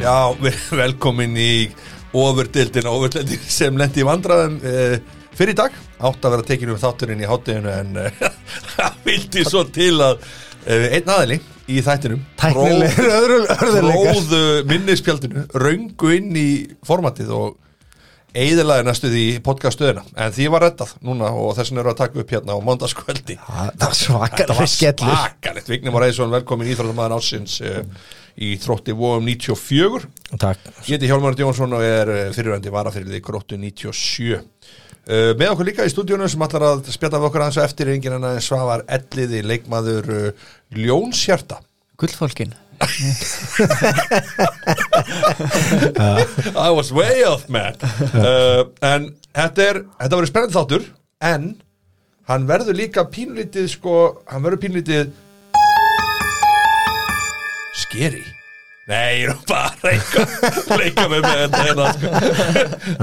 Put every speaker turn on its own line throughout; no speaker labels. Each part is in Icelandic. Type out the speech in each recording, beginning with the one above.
Já, vel- velkomin í ofurdildin og ofurdildin sem lendi í vandræðum eh, fyrir í dag átt að vera tekinu um þátturinn í hátteginu en eh, það vildi svo til að eh, einn aðeili í þættinum
Tæknilegir öðru- örðugleikar.
Róðu minnispjaldinu röngu inn í formatið og eigðilaði næstu því podcaststöðina en því var reddað núna og þess vegna eru að taka upp hérna á mandagskvöldi
Það það var svakalega skellur
svakalegt Vignir Már Eðisson, velkomin íþróttamæðan ásins eh, í þrótti vóum 94
Takk
Ég heiti Hjálmar Örn Jónsson og er eh, fyrirvændi varafyrirlið Gróttu 97. Uh, með okkur líka í stúdíunum sem allar að spjata við okkur aðeins og eftir er enginn en að Svavar Elliði, leikmaður uh, Ljónshjarta.
Gullfólkin
I was way off man. Uh, en þetta er, þetta verður spennandi þáttur, en hann verður líka pínlítið sko, hann verður pínlítið skeri. Nei, ég er nú bara að leika með mig þetta hérna, sko.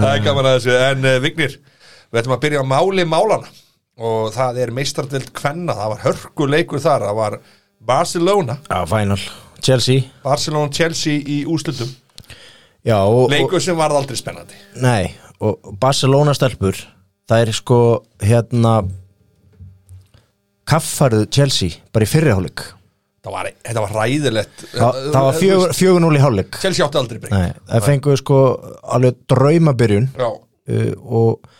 Það er gaman að þessu, en uh, Vignir, við ætlum að byrja á máli málana og það er meistardelt kvenna, það var hörkuleikur þar, það var Barcelona,
Já, final Chelsea
Barcelona-Chelsea í úslutum,
Já, og, og,
leikur sem varð aldrei spennandi.
nei, og Barcelona stelpur Það er sko, hérna Kaffarðu Chelsea Bara í fyrriháleik
Það var, þetta var ræðilegt
Það, það var fjögur- 4-0 í háleik
eh, Chelsea átti aldrei breyk
Nei, það fenguðu sko alveg draumabyrjun
Já,
uh, og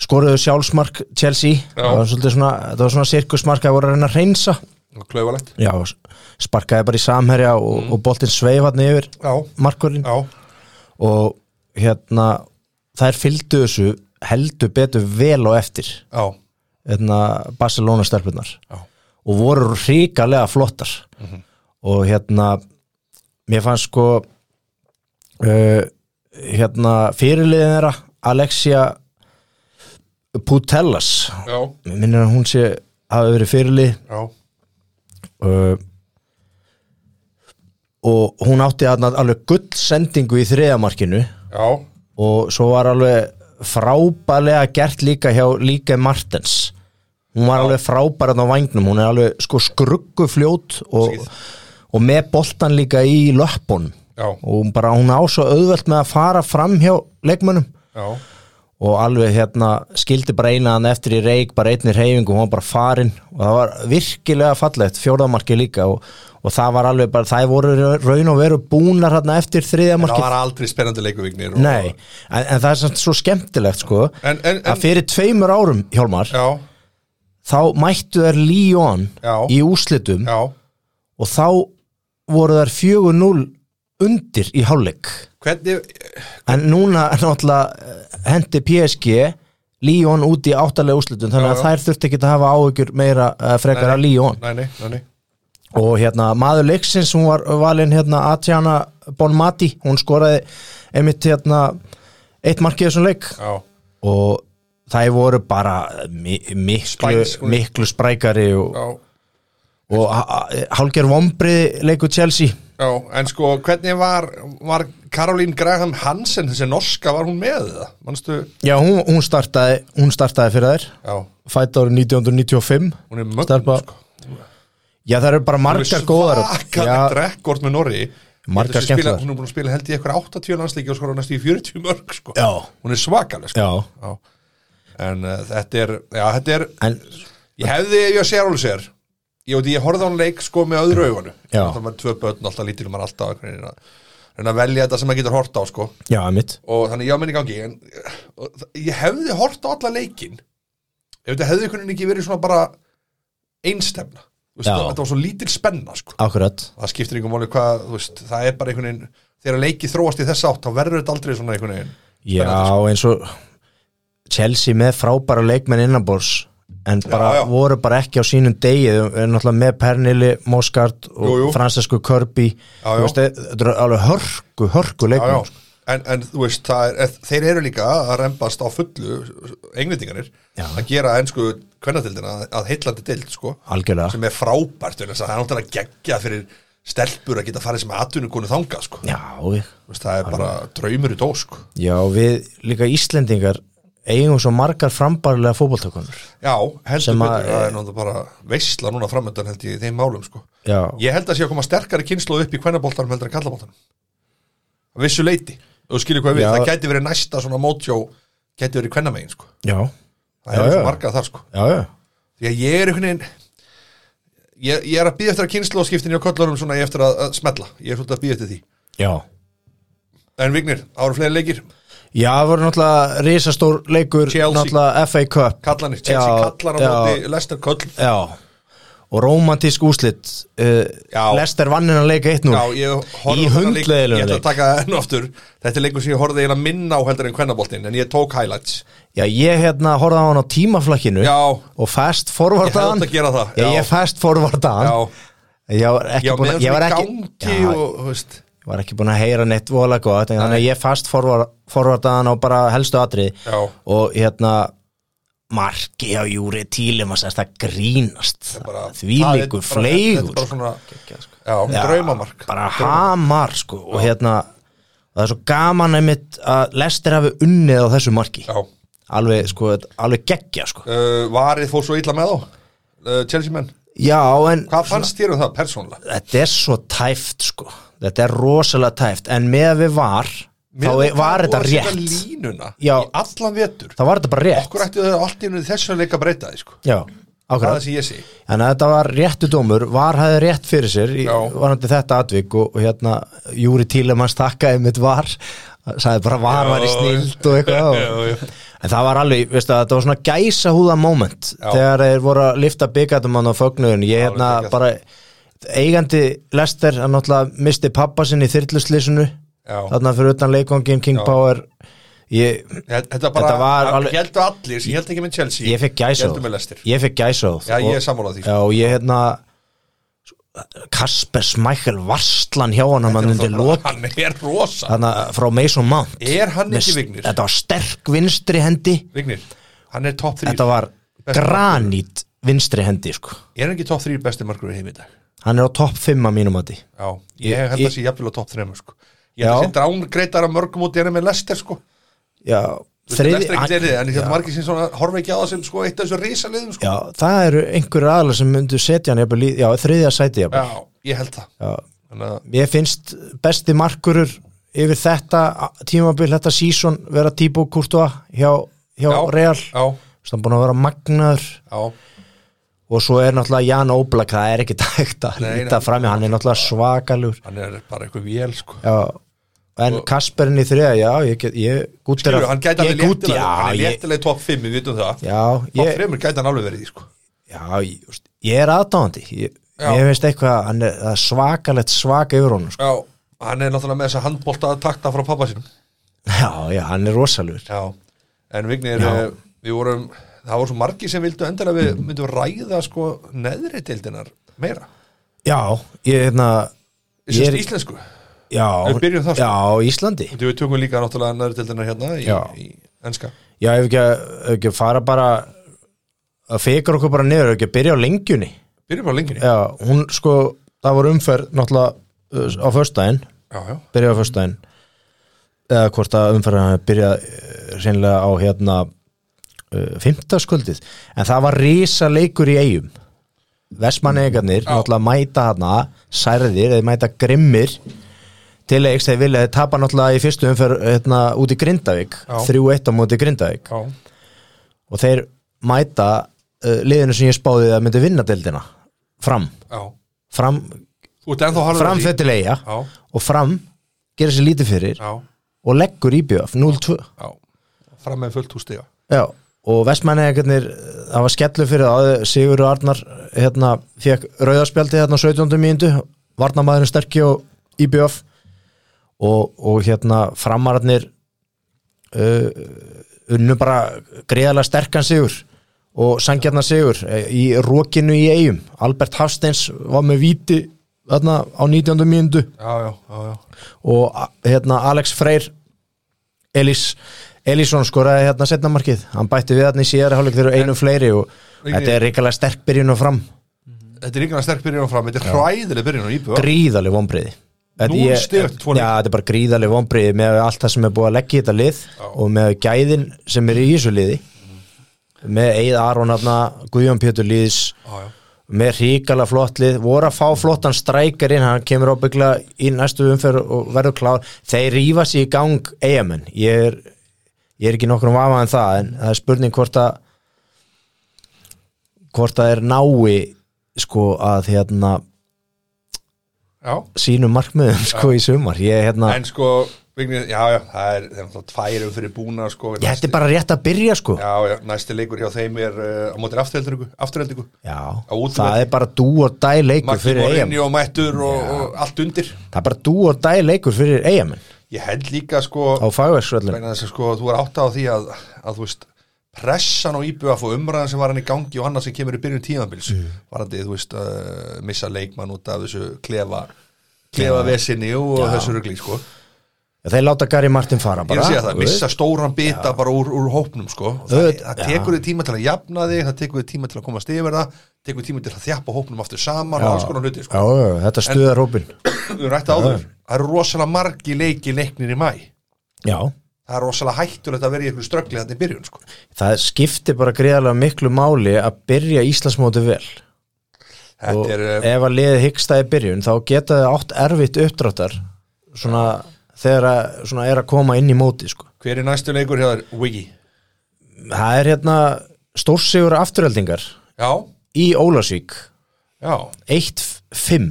skoruðu sjálfsmark Chelsea það var svolítið svona, það var svona sirkusmark að voru að reyna að reynsa
og klauvalegt
Já, Mm. s- sparkaði bara í samherja og, og boltinn sveifarni yfir
Já,
markurinn
já,
og hérna þær fylgdu þessu heldur betur vel og eftir
já,
hérna, Barcelona stelpunar
já.
og voru ríkalega flottar og hérna mér fannst sko uh, hérna fyrirliðin þeirra Alexia Putellas
já,
mér minnir að hún sé hafi verið fyrirlið
já.
uh, og hún átti þarna alveg gull sendingu í þriðamarkinu
já.
og svo var alveg frábælega gert líka hjá líka Martens hún var alveg frábæra á vangnum, hún er alveg sko skruggu fljót og,
Skýð.
og með boltan líka í löppun
Já.
og hún bara hún á svo auðvelt með að fara fram hjá leikmönnum
já.
og alveg hérna skildi bara eina hann eftir í reik, bara einni reyfingu hún var bara farin og það var virkilega fallegt, fjórðamarki líka og, og það var alveg bara, það voru raun og veru búnar hérna eftir
Það
þriðamarki
var aldrei spennandi leikuvignir
Nei, en, en það er samt svo skemmtilegt sko
En, en,
að
en,
fyrir tveimur árum, Hjálmar
já,
þá mættu þær Líón
Já.
í úslitum
já
og þá voru þær 4-0 undir í hálfleik
Hvernig,
en núna er náttúrulega eh, hendi PSG Líón út í áttalega úslitum þannig
Já,
að
já.
þær þurfti ekki að hafa áhyggjur meira uh, frekar að Líón
nei, nei, nei, nei.
og hérna maður leiksins hún var valin hérna Atjana Bonmati hún skoraði einmitt hérna eitt markið í þessum leik
Já,
og það voru bara mi miklu,
Spænsku.
miklu sprækari og,
já,
og hálger vombrið leikur Chelsea
já En sko, hvernig var, var Karolín Graham Hansen, þessi norska, var hún með það? Manstu,
já hún, hún, startaði, hún startaði fyrir þær
já,
fætt árið 1995
hún er mögn
Stelpa.
sko.
já það eru bara
Hún er
margar góðar
svakalegt rekkord með Norri
Margar skemmtilegar.
Hún er búin að spila held í eitthvað 80 landsleiki og skora næstu í 40 mörg sko.
Já.
Hún er svakaleg sko.
já,
Já. En uh, þetta er, já, þetta er
en
Ég hefði, ef ég sé alveg sér Ég veit, ég horfði á hann leik sko með öðru augunu
Já.
Það var tvö börn, alltaf lítil maður alltaf einhvern veginn að reyna að velja þetta sem maður getur hort á sko
já mitt
og þannig ég á minni gangi en, og, þa- ég hefði hort á alla leikin ef þetta hefði einhvern veginn ekki verið svona bara einstefna Þú veist,
Já.
þetta var svo lítil spenna sko
akkurat
það skiptir einhver máli hvað, þú veist, það er bara einhvern veginn, þegar leiki þróast í þess átt þá verður þetta aldrei svona einhvern veginn
já
Spennandi, sko.
eins og Chelsea með frábæra leikmenn innanbors en bara
Já, já.
voru bara ekki á sínum degi þau eru náttúrulega með Pernili, Moskart
Jú, jú.
og fransesku Kirby
Já,
Þú
já.
veist, þetta eru alveg hörku, hörku
já,
leikmenn sko.
já. En, en þú veist, það er, eð- þeir eru líka að rembast á fullu englendinganir
Já.
að gera ennsku kvennatildina að- að heitlandi dild sko,
algjörlega
sem er frábært vegna þess að það er náttúrulega geggja fyrir stelpur að geta farið sem atvinnukonu þanga sko.
já, við-
Þú veist, það er bara draumur í dós sko.
já, við líka Íslendingar eigum svo margar frambarlega fótboltakonur
já, heldur
Sem að-
betur, það er náttúrulega bara veisla núna framöndan held ég í þeim málum sko.
já,
ég held að sé að koma sterkari kynslu upp í kvennaboltanum heldur en kallaboltanum vissu leiti og skilur hvað við,
Já.
það gæti verið næsta svona mótjó, gæti verið kvennamegin sko.
já,
það
Já,
er
já.
svo marga þar sko
já, já
því að ég er einhvern veginn ég, ég er að býða eftir að kynnslóðskiptin hjá kollarum svona ég eftir að, að smetla, ég er svolítið að býða eftir því
Já,
en Vignir, ára fleiri leikir,
já það voru náttúrulega risastór leikur
Chelsea.
náttúrulega FA Cup
kallanir Chelsea
Já,
kallar á
já.
móti Lester Köll
Já, og romantísk úslit uh,
Já.
Lester vann hennar leika 1-0
Já, ég horfði á
Í
þennan leik-
hundleiðilegum
Ég ætla að
leik.
taka enn aftur Þetta er leikur sem ég horfði eiginlega minna á heldur en kvennaboltin En ég tók highlights
Já, ég hérna horfði á hann á tímaflakkinu
Já,
og fast
ég hefði
forvartaðan
átt að gera það
Já, ég fast forvartaðan
já,
Ég var ekki
já
búin
meðan
að ég var
svona í
ekki,
gangi
já,
og, þú veist
ég var ekki búin að heyra neitt voðalega gott, en þannig að ég fast forvar, forvartaðan á bara helstu atrið
Já,
og hérna marki á Júri Tílim að það grínast
bara,
því
það er
líku
bara- þetta
fleigur
er bara svona, Já,
Já,
draumamark
bara hamar sko og hérna það er svo gaman einmitt að Lester hafi unnið á þessu marki
Já,
alveg sko, alveg geggja sko
uh, varið fór svo illa með á uh, Chelsea menn,
já en
hvað fannst þér um það persónlega?
þetta er svo tæft sko þetta er rosalega tæft en með að við var þá var þetta rétt
Línuna
Já.
í allan vetur
þá var þetta bara rétt
Okkur ættu þau allt í einu þessu að leika að breyta því sko
já,
Það er
ákveð
það sem ég segi
en að þetta var réttu dómur, var hafði rétt fyrir sér í-
Já.
varandi þetta atvik og, og hérna Júri Tílemanns takkaði mitt var sagði bara var var í
Já.
snild og eitthvað
Já, já.
en það var alveg, veistu að þetta var svona gæsa húða moment
Já.
þegar þeir voru að lifta byggatum hann á fögnuðin, ég hérna
geggjað.
bara eigandi Lester, hann náttúrulega misti pappa sinn í þyrluslisunu
Já.
þarna fyrir utan leikongin King
Já.
Power ég,
Þetta bara,
Þetta var alveg-
alveg... heldu allir, ég held ekki með Chelsea
ég fekk
Héldu með
gæsað
lestir
ég fekk gæsað
Já, ég er sammálað því sko.
Já, og ég hérna Kasper Smækkel varslan hjá hann að mann undir lók
Hann er rosa
hann frá Mason Mount
Er hann
Með
ekki
st-
Vignir?
Þetta var sterk vinstri hendi
Vignir, hann er top 3
Þetta var
Best
granít vinstri hendi sko.
Er hann ekki top 3 besti margur í heim í dag?
Hann er á topp 5 að mínum að því
Já, ég held
ég-
að sé jafnvel á top 3 sko. Ég held
Já.
að sé drángreitar að mörgum út í henni með lestir sko.
Já,
Þriði, Lestir ekki
hann-
lerið, en ég held margir sem svona horfa ekki á það sem sko, eitt af þessu risaliðum sko.
Já, það eru einhverju aðlar sem myndu setja hann jafnvel í- Já, þriðja sæti
Já,
jafnvel
ég held það
Já,
Þannig að
Ég finnst besti markurur yfir þetta tímabil, þetta season vera Tíbo Kurtua hjá, hjá
Já.
Real
Já,
Svo hann búin að vera magnaður
já,
og svo er náttúrulega Jan Óblak það er ekki tækt að
Nei,
líta
nei.
fram í hann er náttúrulega svakalur
hann er bara eitthvað vél sko.
já. en Kasperin í þriða já, ég, get- ég gútir
Skilur, hann gæti
ég
alveg
gút,
léttilega Hann
já,
er
ég,
léttilega í top 5, við vitum það
já,
Top
ég,
3 gæti hann alveg verið í sko.
já ég, þú veist, ég er aðdáðandi ég,
Já.
ég veist eitthvað, hann er, það er svakalett svaka yfir honum, sko.
Já, hann er náttúrulega með þessa handbólta takta frá pappa sínum
já, já, hann er rosalur
Já, en Vignir,
Já.
eh, við vorum, það voru svo margi sem vildu endilega við myndum ræða sko neðri deildinar meira
já, ég, hérna
Ég
Ég er-
er íslensku,
já,
Við byrjum þá, sko.
já, Íslandi
Því við tökum líka náttúrulega neðri deildinar hérna í,
Já.
í enska
já, ef ekki, að- ef ekki að fara bara að fikra okkur bara niður, ef ekki að byrja á lengjunni
Byrjum á lenginni
Já, hún sko, það voru umferð náttúrulega uh, á föstudaginn
Já, já,
byrjaði á föstudaginn eða hvort að umferðan byrjaði uh, reynilega á hérna uh, fimmtaskuldið, en það var risa leikur í eigum Vestmannegarnir, náttúrulega mæta hana særðir, þeir mæta grimmir til eiks þeir vilja þeir tapa náttúrulega í fyrstu umferð hérna, út í Grindavík
Já.
3-1 á móti Grindavík
já,
og þeir mæta uh, liðinu sem ég spáði að myndi vinna deildina fram,
já
fram
Þú ert ennþá harður á
fram
því.
fettilega
Já,
og fram gera sér lítið fyrir
já,
og leggur IBF 0-2
já Fram með fullt hústiga
Já, og vestmæningarnir það var skellu fyrir það Sigur Arnar hérna, fekk rauðarspjaldi hérna á 17. mínútu varnamæðurinn sterkki og IBF og, og hérna framararnir uh, unnu bara greiðalega sterkan Sigur og sangjarnar Sigur eh, í rókinu í eigum Albert Hafsteins var með víti þarna á 19. mínútu
Já, já, já, já
og a- hérna Alex Freyr Elís Elísson skoraði hérna setna markið hann bætti við hérna í síðari hálfleik þegar einu fleiri og þetta er reikalega sterk byrjun og fram
Þetta er ykkur að sterk byrjun á fram Þetta er hræðileg byrjun á íbjöð
gríðaleg vonbriði
Núll stig eftir tvo leiki.
Já, þetta er bara gríðaleg vonbriði með allt það sem er búið að leggja í þetta lið
Já.
og með gæðin sem er í þessu liði með Eið Aron hérna, Guðjón Pétur Lýðs
Já, já,
með ríkala flottlið, voru að fá flottan strækar inn, hann kemur ábyggla í næstu umferð og verður klár þeir rífa sér í gang eigamenn ég er, ég er ekki nokkrum vafa en það en það er spurning hvort að hvort að er nái sko að hérna
já.
sínum markmiðum sko í sumar ég hérna,
en sko Vignir, já, já, það er, það er náttúrulega tvær um fyrir búna sko,
ég hætti bara rétt að byrja sko já,
já, já, næsti leikur hjá þeim er uh, á mótir afturheldingu, afturheldingu útivelli.
það er bara dú og dæ leikur
Maggi
fyrir eigamenn
Morinni og Mættur og, og allt undir
það er bara dú og dæ leikur fyrir eigamenn
ég held líka sko
á fagvægsvöllin
vegna þess að sko, þú er átt á því að, að þú veist, pressan á IBF og umræðan sem var hann í gangi og annað sem kemur í byrjun tímabils var hann, þú veist, uh, missa leikmann út af þessu klefa klefa vesinni og þessu rugli, sko
þeir láta Gary Martin
ég
fara
er
bara
að segja það,
þú veist.
missa stóran bita bara úr, úr hópnum, sko Og það,
Auðvitað,
það
já.
tekur þið tíma til að jafna þig, það tekur þið tíma til að komast yfir það tekur tíma til að þjappa hópnum aftur saman og alls konar hluti, sko
já, já, já, þetta stuðar hópin
við erum rætt áður, það eru rosalega margi leiki leiknir í mæ
já,
það er rosalega hættulegt að vera í ykkur ströggli þannig í byrjun, sko
það skiptir bara greiðarlega miklu máli að byrja Íslandsmóti vel og
þetta er, eh,
ef að liðið hyggstaði byrjun þá geta þið átt erfitt uppdráttar svona þegar að svona er að koma inn í móti sko.
hver er næstu leikur hjá þér, Wiggy?
það er hérna stórsigur afturheldingar
Já,
í Ólasvík
já,
1-5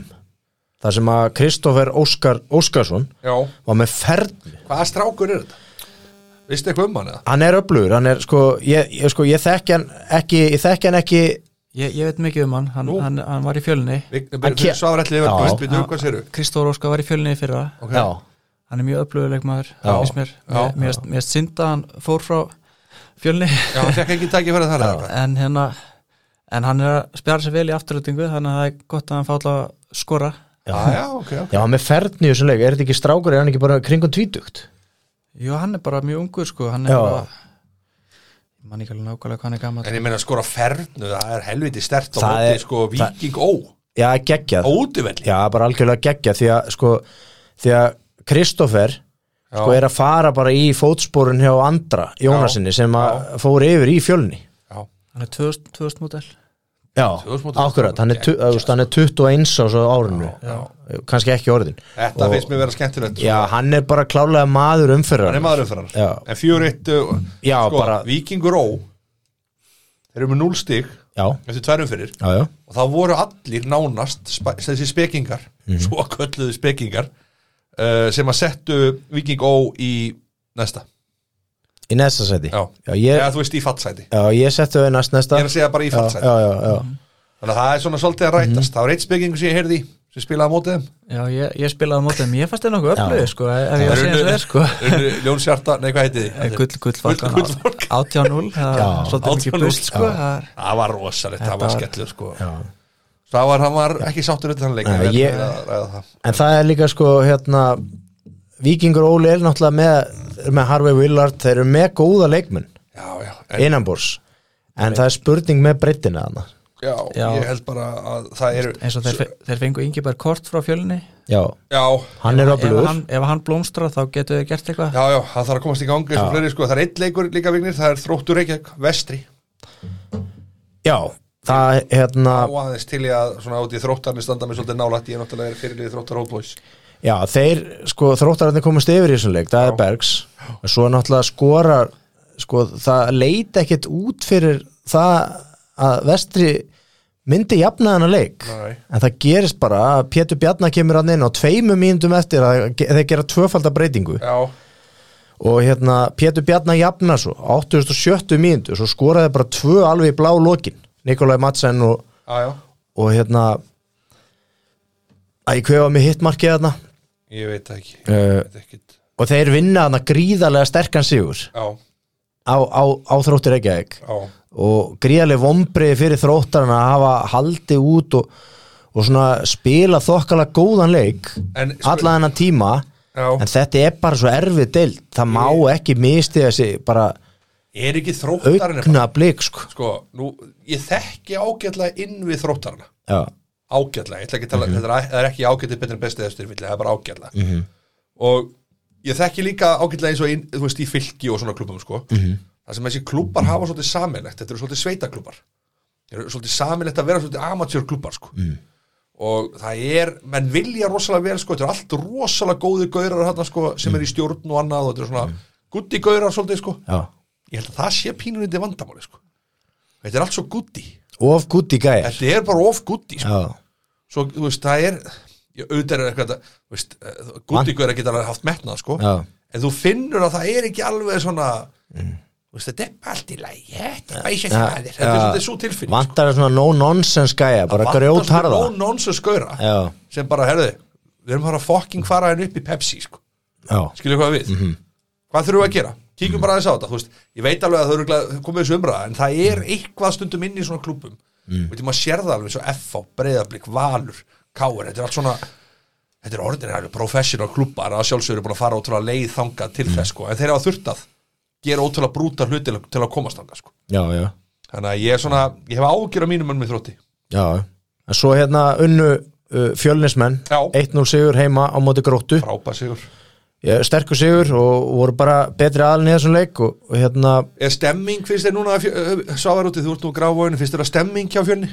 þar sem að Kristoffer Óskar Óskarsson
já
var með ferð
Hvaða strákur er þetta? Vistu eitthvað um hann eða?
hann er öflugur, hann er sko ég, ég, sko, ég þekki hann ekki, ég þekki hann ekki
Ég, ég veit mikið um hann, hann,
Nú.
hann, hann var í fjölni
Vignir
Hann
byrjum
ke-
svaður allir yfir
Já.
Vist byrjum um hvað séru?
Kristóður Óskar var í fjölni í fyrra
Ok.
já,
hann er mjög öfluguleik maður
Já.
finnst mér,
Já.
Mér- mér finnst- mér finnst synd að hann fór frá fjölni
Já, hann fekk ekki tæki fyrir það eða hvað?
en hérna en hann er að spjara sér vel í afturlýtingu þannig að það er gott að hann fá alltaf að skora
Ah, já,
Já, já, ok, ok
já, hann með ferð í þessum leik, er þetta ekki strákur er hann ekki bara kringum tvítugt
Jú, hann er bara mjög ungur sko hann er
Já.
bara ég man ekki alveg nákvæmlega hvað hann er gammal
En ég meina að skora fernu, það er helviti stert á
Það er-
móti sko Viking Ó,
já, geggjað,
óduvelli
já, bara algjörlega geggjað því að sko, því að Kristoffer sko er að fara bara í fótsporun hjá Andra Jónasinni sem að fór yfir í fjölni
Já,
hann er 2000, 2000 mótel
Já,
Þjóðsmótið-
akkurat, hann er, tu- þú veist, hann er 21 á svo árinu, kannski ekki orðin
þetta
Og-
finnst mér vera skemmtilegt sko.
Já, hann er bara klálega maður umfyrra
Hann er maður umfram
Já.
En fjör eitt, uh,
Já,
sko,
bara-
Vikingur Ó Þeir eru með núl stig
Já,
eftir tværum fyrir
já, já,
og það voru allir nánast spa- þessi spekingar,
Mhm.
svo kölluðu spekingar uh, sem að settu Viking Ó í næsta
í næsta seti
já,
Já, ég,
eða þú veist í fattsæti
já, ég settu þau næst næsta
ég er að segja bara í
já,
fattsæti
já, já, já.
þannig að það er svona svolítið að rætast
Mhm.
það var eitt spekingu sem ég heyrði í, sem spilaði á mótið þeim.
Já, ég, ég spilaði á mótel, mér fannst það nokkuð öflug sko, ef ég
Það
var að segja
unnu-
það sko
unnu Ljónsjarta, nei hvað heiti þið
Eh, gull, gull, falkan,
Gull- gullfálkan.
18-0 það
Já.
var svolítið mikið
18-0,
bull sko
já.
það er-
það var rosalegt, það var
var-
skellur sko það var, hann var ekki sáttur öll hann leik
Nei,
við
ég-
ætlum að ræða það.
En það er líka sko, hérna Víkingur og Óli er náttúrulega með, þeir eru með Harvey Willard, þeir eru með góða leikmenn
já, já, en,
innanbors En það er spurning með breyttina hana
já,
Já.
ég held bara að það eru
eins og þeir, fe- þeir fengu Ingeberg Kort frá fjölni
Já,
já,
hann er
ef
öflugur
hann, ef hann blómstrar þá getur þau gert eitthvað
Já, já, það þarf að komast í gangi eins og fleiri sko, það er eitt leikur líka vignir, það er þróttur Reykjavík, vestri
Já, það, hérna
og aðeins til í að svona út í þróttarni standa með svolítið nálætt, ég er náttúrulega er fyrirlið þróttar Old Boys
Já, þeir, sko, þróttararnir komast yfir í þessum leik, það er Bergs og svo náttúrulega skorar sko, það leit ekkert út fyrir það að vestri myndi jafna þennan leik
Nei.
en það gerist bara að Pétur Bjarnar kemur hann inn á tveimum mínundum eftir að ge- þeir gera tvöfalda breytingu
Já,
og hérna Pétur Bjarnar jafna svo 87 mínundu, svo skoraði bara tvö alveg í blá lokin, Nikolaj Madsen og,
já, já,
og hérna að ég kvefa mig hittmarkið þarna
ég veit það ekki ég
uh,
veit ekkit,
og þeir vinna þarna gríðarlega sterkan sigur
já,
á, á, á þróttir Reykjavík
já
og gríðarlega vombriði fyrir þróttarna að hafa haldið út og, og svona spila þokkala góðan leik
En, sko-
alla þennan tíma
Já,
en þetta er bara svo erfið deild það má ekki mistiða sig bara
er ekki þróttarinn
augna blik sko.
Sko, nú, ég þekki ágætlega inn við þróttarna
já,
ágætlega, ég ætla ekki að tala, þetta er- það er ekki ágætlega betur en bestið eftir vilja, það er bara ágætlega -hmm. og ég þekki líka ágætlega eins og inn, þú veist, í fylki og svona klubum sko, mm -hmm. það sem þessi klubbar hafa svolítið sameinlegt, þetta eru svolítið sveitaklubbar eru svolítið samilegt að vera svolítið amatjör klubbar sko. mm. og það er menn vilja rosalega vel sko, þetta er allt rosalega góði gaurar þarna, sko, sem er í stjórn og annað og þetta er svona mm. gutti gaurar svolítið sko.
já.
ég held að það sé pínurindi vandamáli sko. þetta er allt svo gutti
of gutt í gæja
þetta er bara of gutti sko.
já,
svo þú veist það er ég, auðvitað er eitthvað þetta, þú veist, eh, gutti gaurar geta alveg haft metnað sko.
já, Mm.
en þú finnur að það er ekki alveg svona þú veist, þetta er bara allt í lagi þetta er bara ekki
Já.
það þetta er
Já.
svolítið svo tilfinning sko.
vantar svona no nonsense gæja bara grjót harða
no nonsense gauðra
já,
sem bara, herðu, við erum bara að fucking fara henni upp í Pepsi, sko
já,
skilju hvað við, hvað þurfum við að gera kíkjum bara aðeins á þetta, þú veist, ég veit alveg að þau eru örugglega komið þessu umræða, en það er eitthvað stundum inn í svona klubum, mm. veitum að sér það alveg svo FH, Breiðablík, Valur Káur, þetta er allt svona þetta er orðinæri, professional klubbar að sjálfsögur er búin að fara ótrúlega leið þangað til þess sko, en þeir hafa þurft að gera ótrúlega brúta hluti til að- til að komast þangað sko.
já, já,
þannig að ég er svona, ég hef ágjör á mínum mönnum í þrótti
já en svo hérna unnu uh, fjölnismenn
Já.
1-0 sigur heima á móti gróttu
frábær sigur
Já, sterkur sigur og voru bara betri aðlun í þessum leik og, og hérna
Er stemming, finnst þér núna Sávar úti, þú ert nú gráfóinu, finnst þér að stemming hjá fjölni?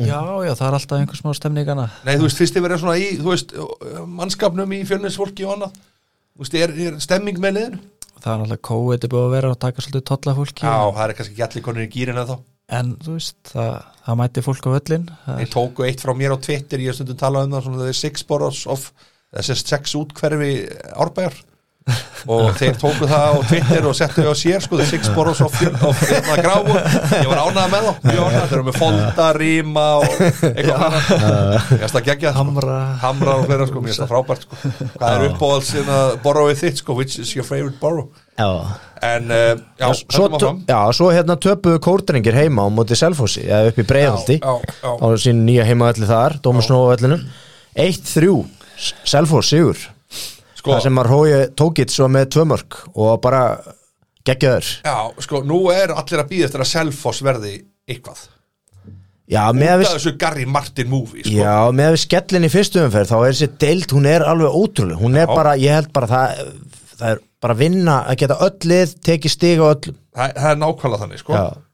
Já, já, það er alltaf einhver smá stemningana
Nei, þú veist, finnst þér verið svona í, þú veist ö, mannskapnum í fjölnisfólki og annað Þú veist, er, er stemming með liðinu?
Það er alltaf kóið þetta er búið að vera og taka svolítið tolla fólki
Já, það er kannski ekki allir konur í gýrin en þá
En þú veist, það, það mæti fólk á völlin Það
Þeir tóku eitt frá mér á Twitter, ég hef stundum talað um það svona, þeir six boroughs of þessi sex útkverfi árbæjar og þeir tóku það á Twitter og settu þau á sér, sko, the six boroughs of, fjör- of hérna, gráu, ég var ánað með þá mjög ánað, þeir eru með folda, rýma og eitthvað annað ég veist það geggjað, sko.
Hamra
Hamrar og fleira sko, mér finnst það frábært sko. Hvað er hérna, uppáhaldsinn að borrowið þitt sko, which is your favorite borrow
já,
En uh, já,
svo,
höldum áfram
tö- já, svo hérna töpuðu kórdrengir heima á móti Selfossi, eða upp í Breiðaldi
Já, já,
á sín nýja heimavelli þar, Dómus Nóvellinu 1-3, Selfoss sigur
Sko,
það sem að Rói tókitt svo með tvömörk og bara geggjaður
já, sko, nú er allir að býða eftir að Selfoss verði eitthvað
já, með að
Það
við,
er þessu Gary Martin movie sko.
já, með að við skellin í fyrstu umferð þá er þessi deild, hún er alveg ótrúlega hún er
Já.
bara, ég held bara það það er bara vinna að geta öll lið tekið stig á öllum
það, það er nákvæmlega þannig sko.
Já.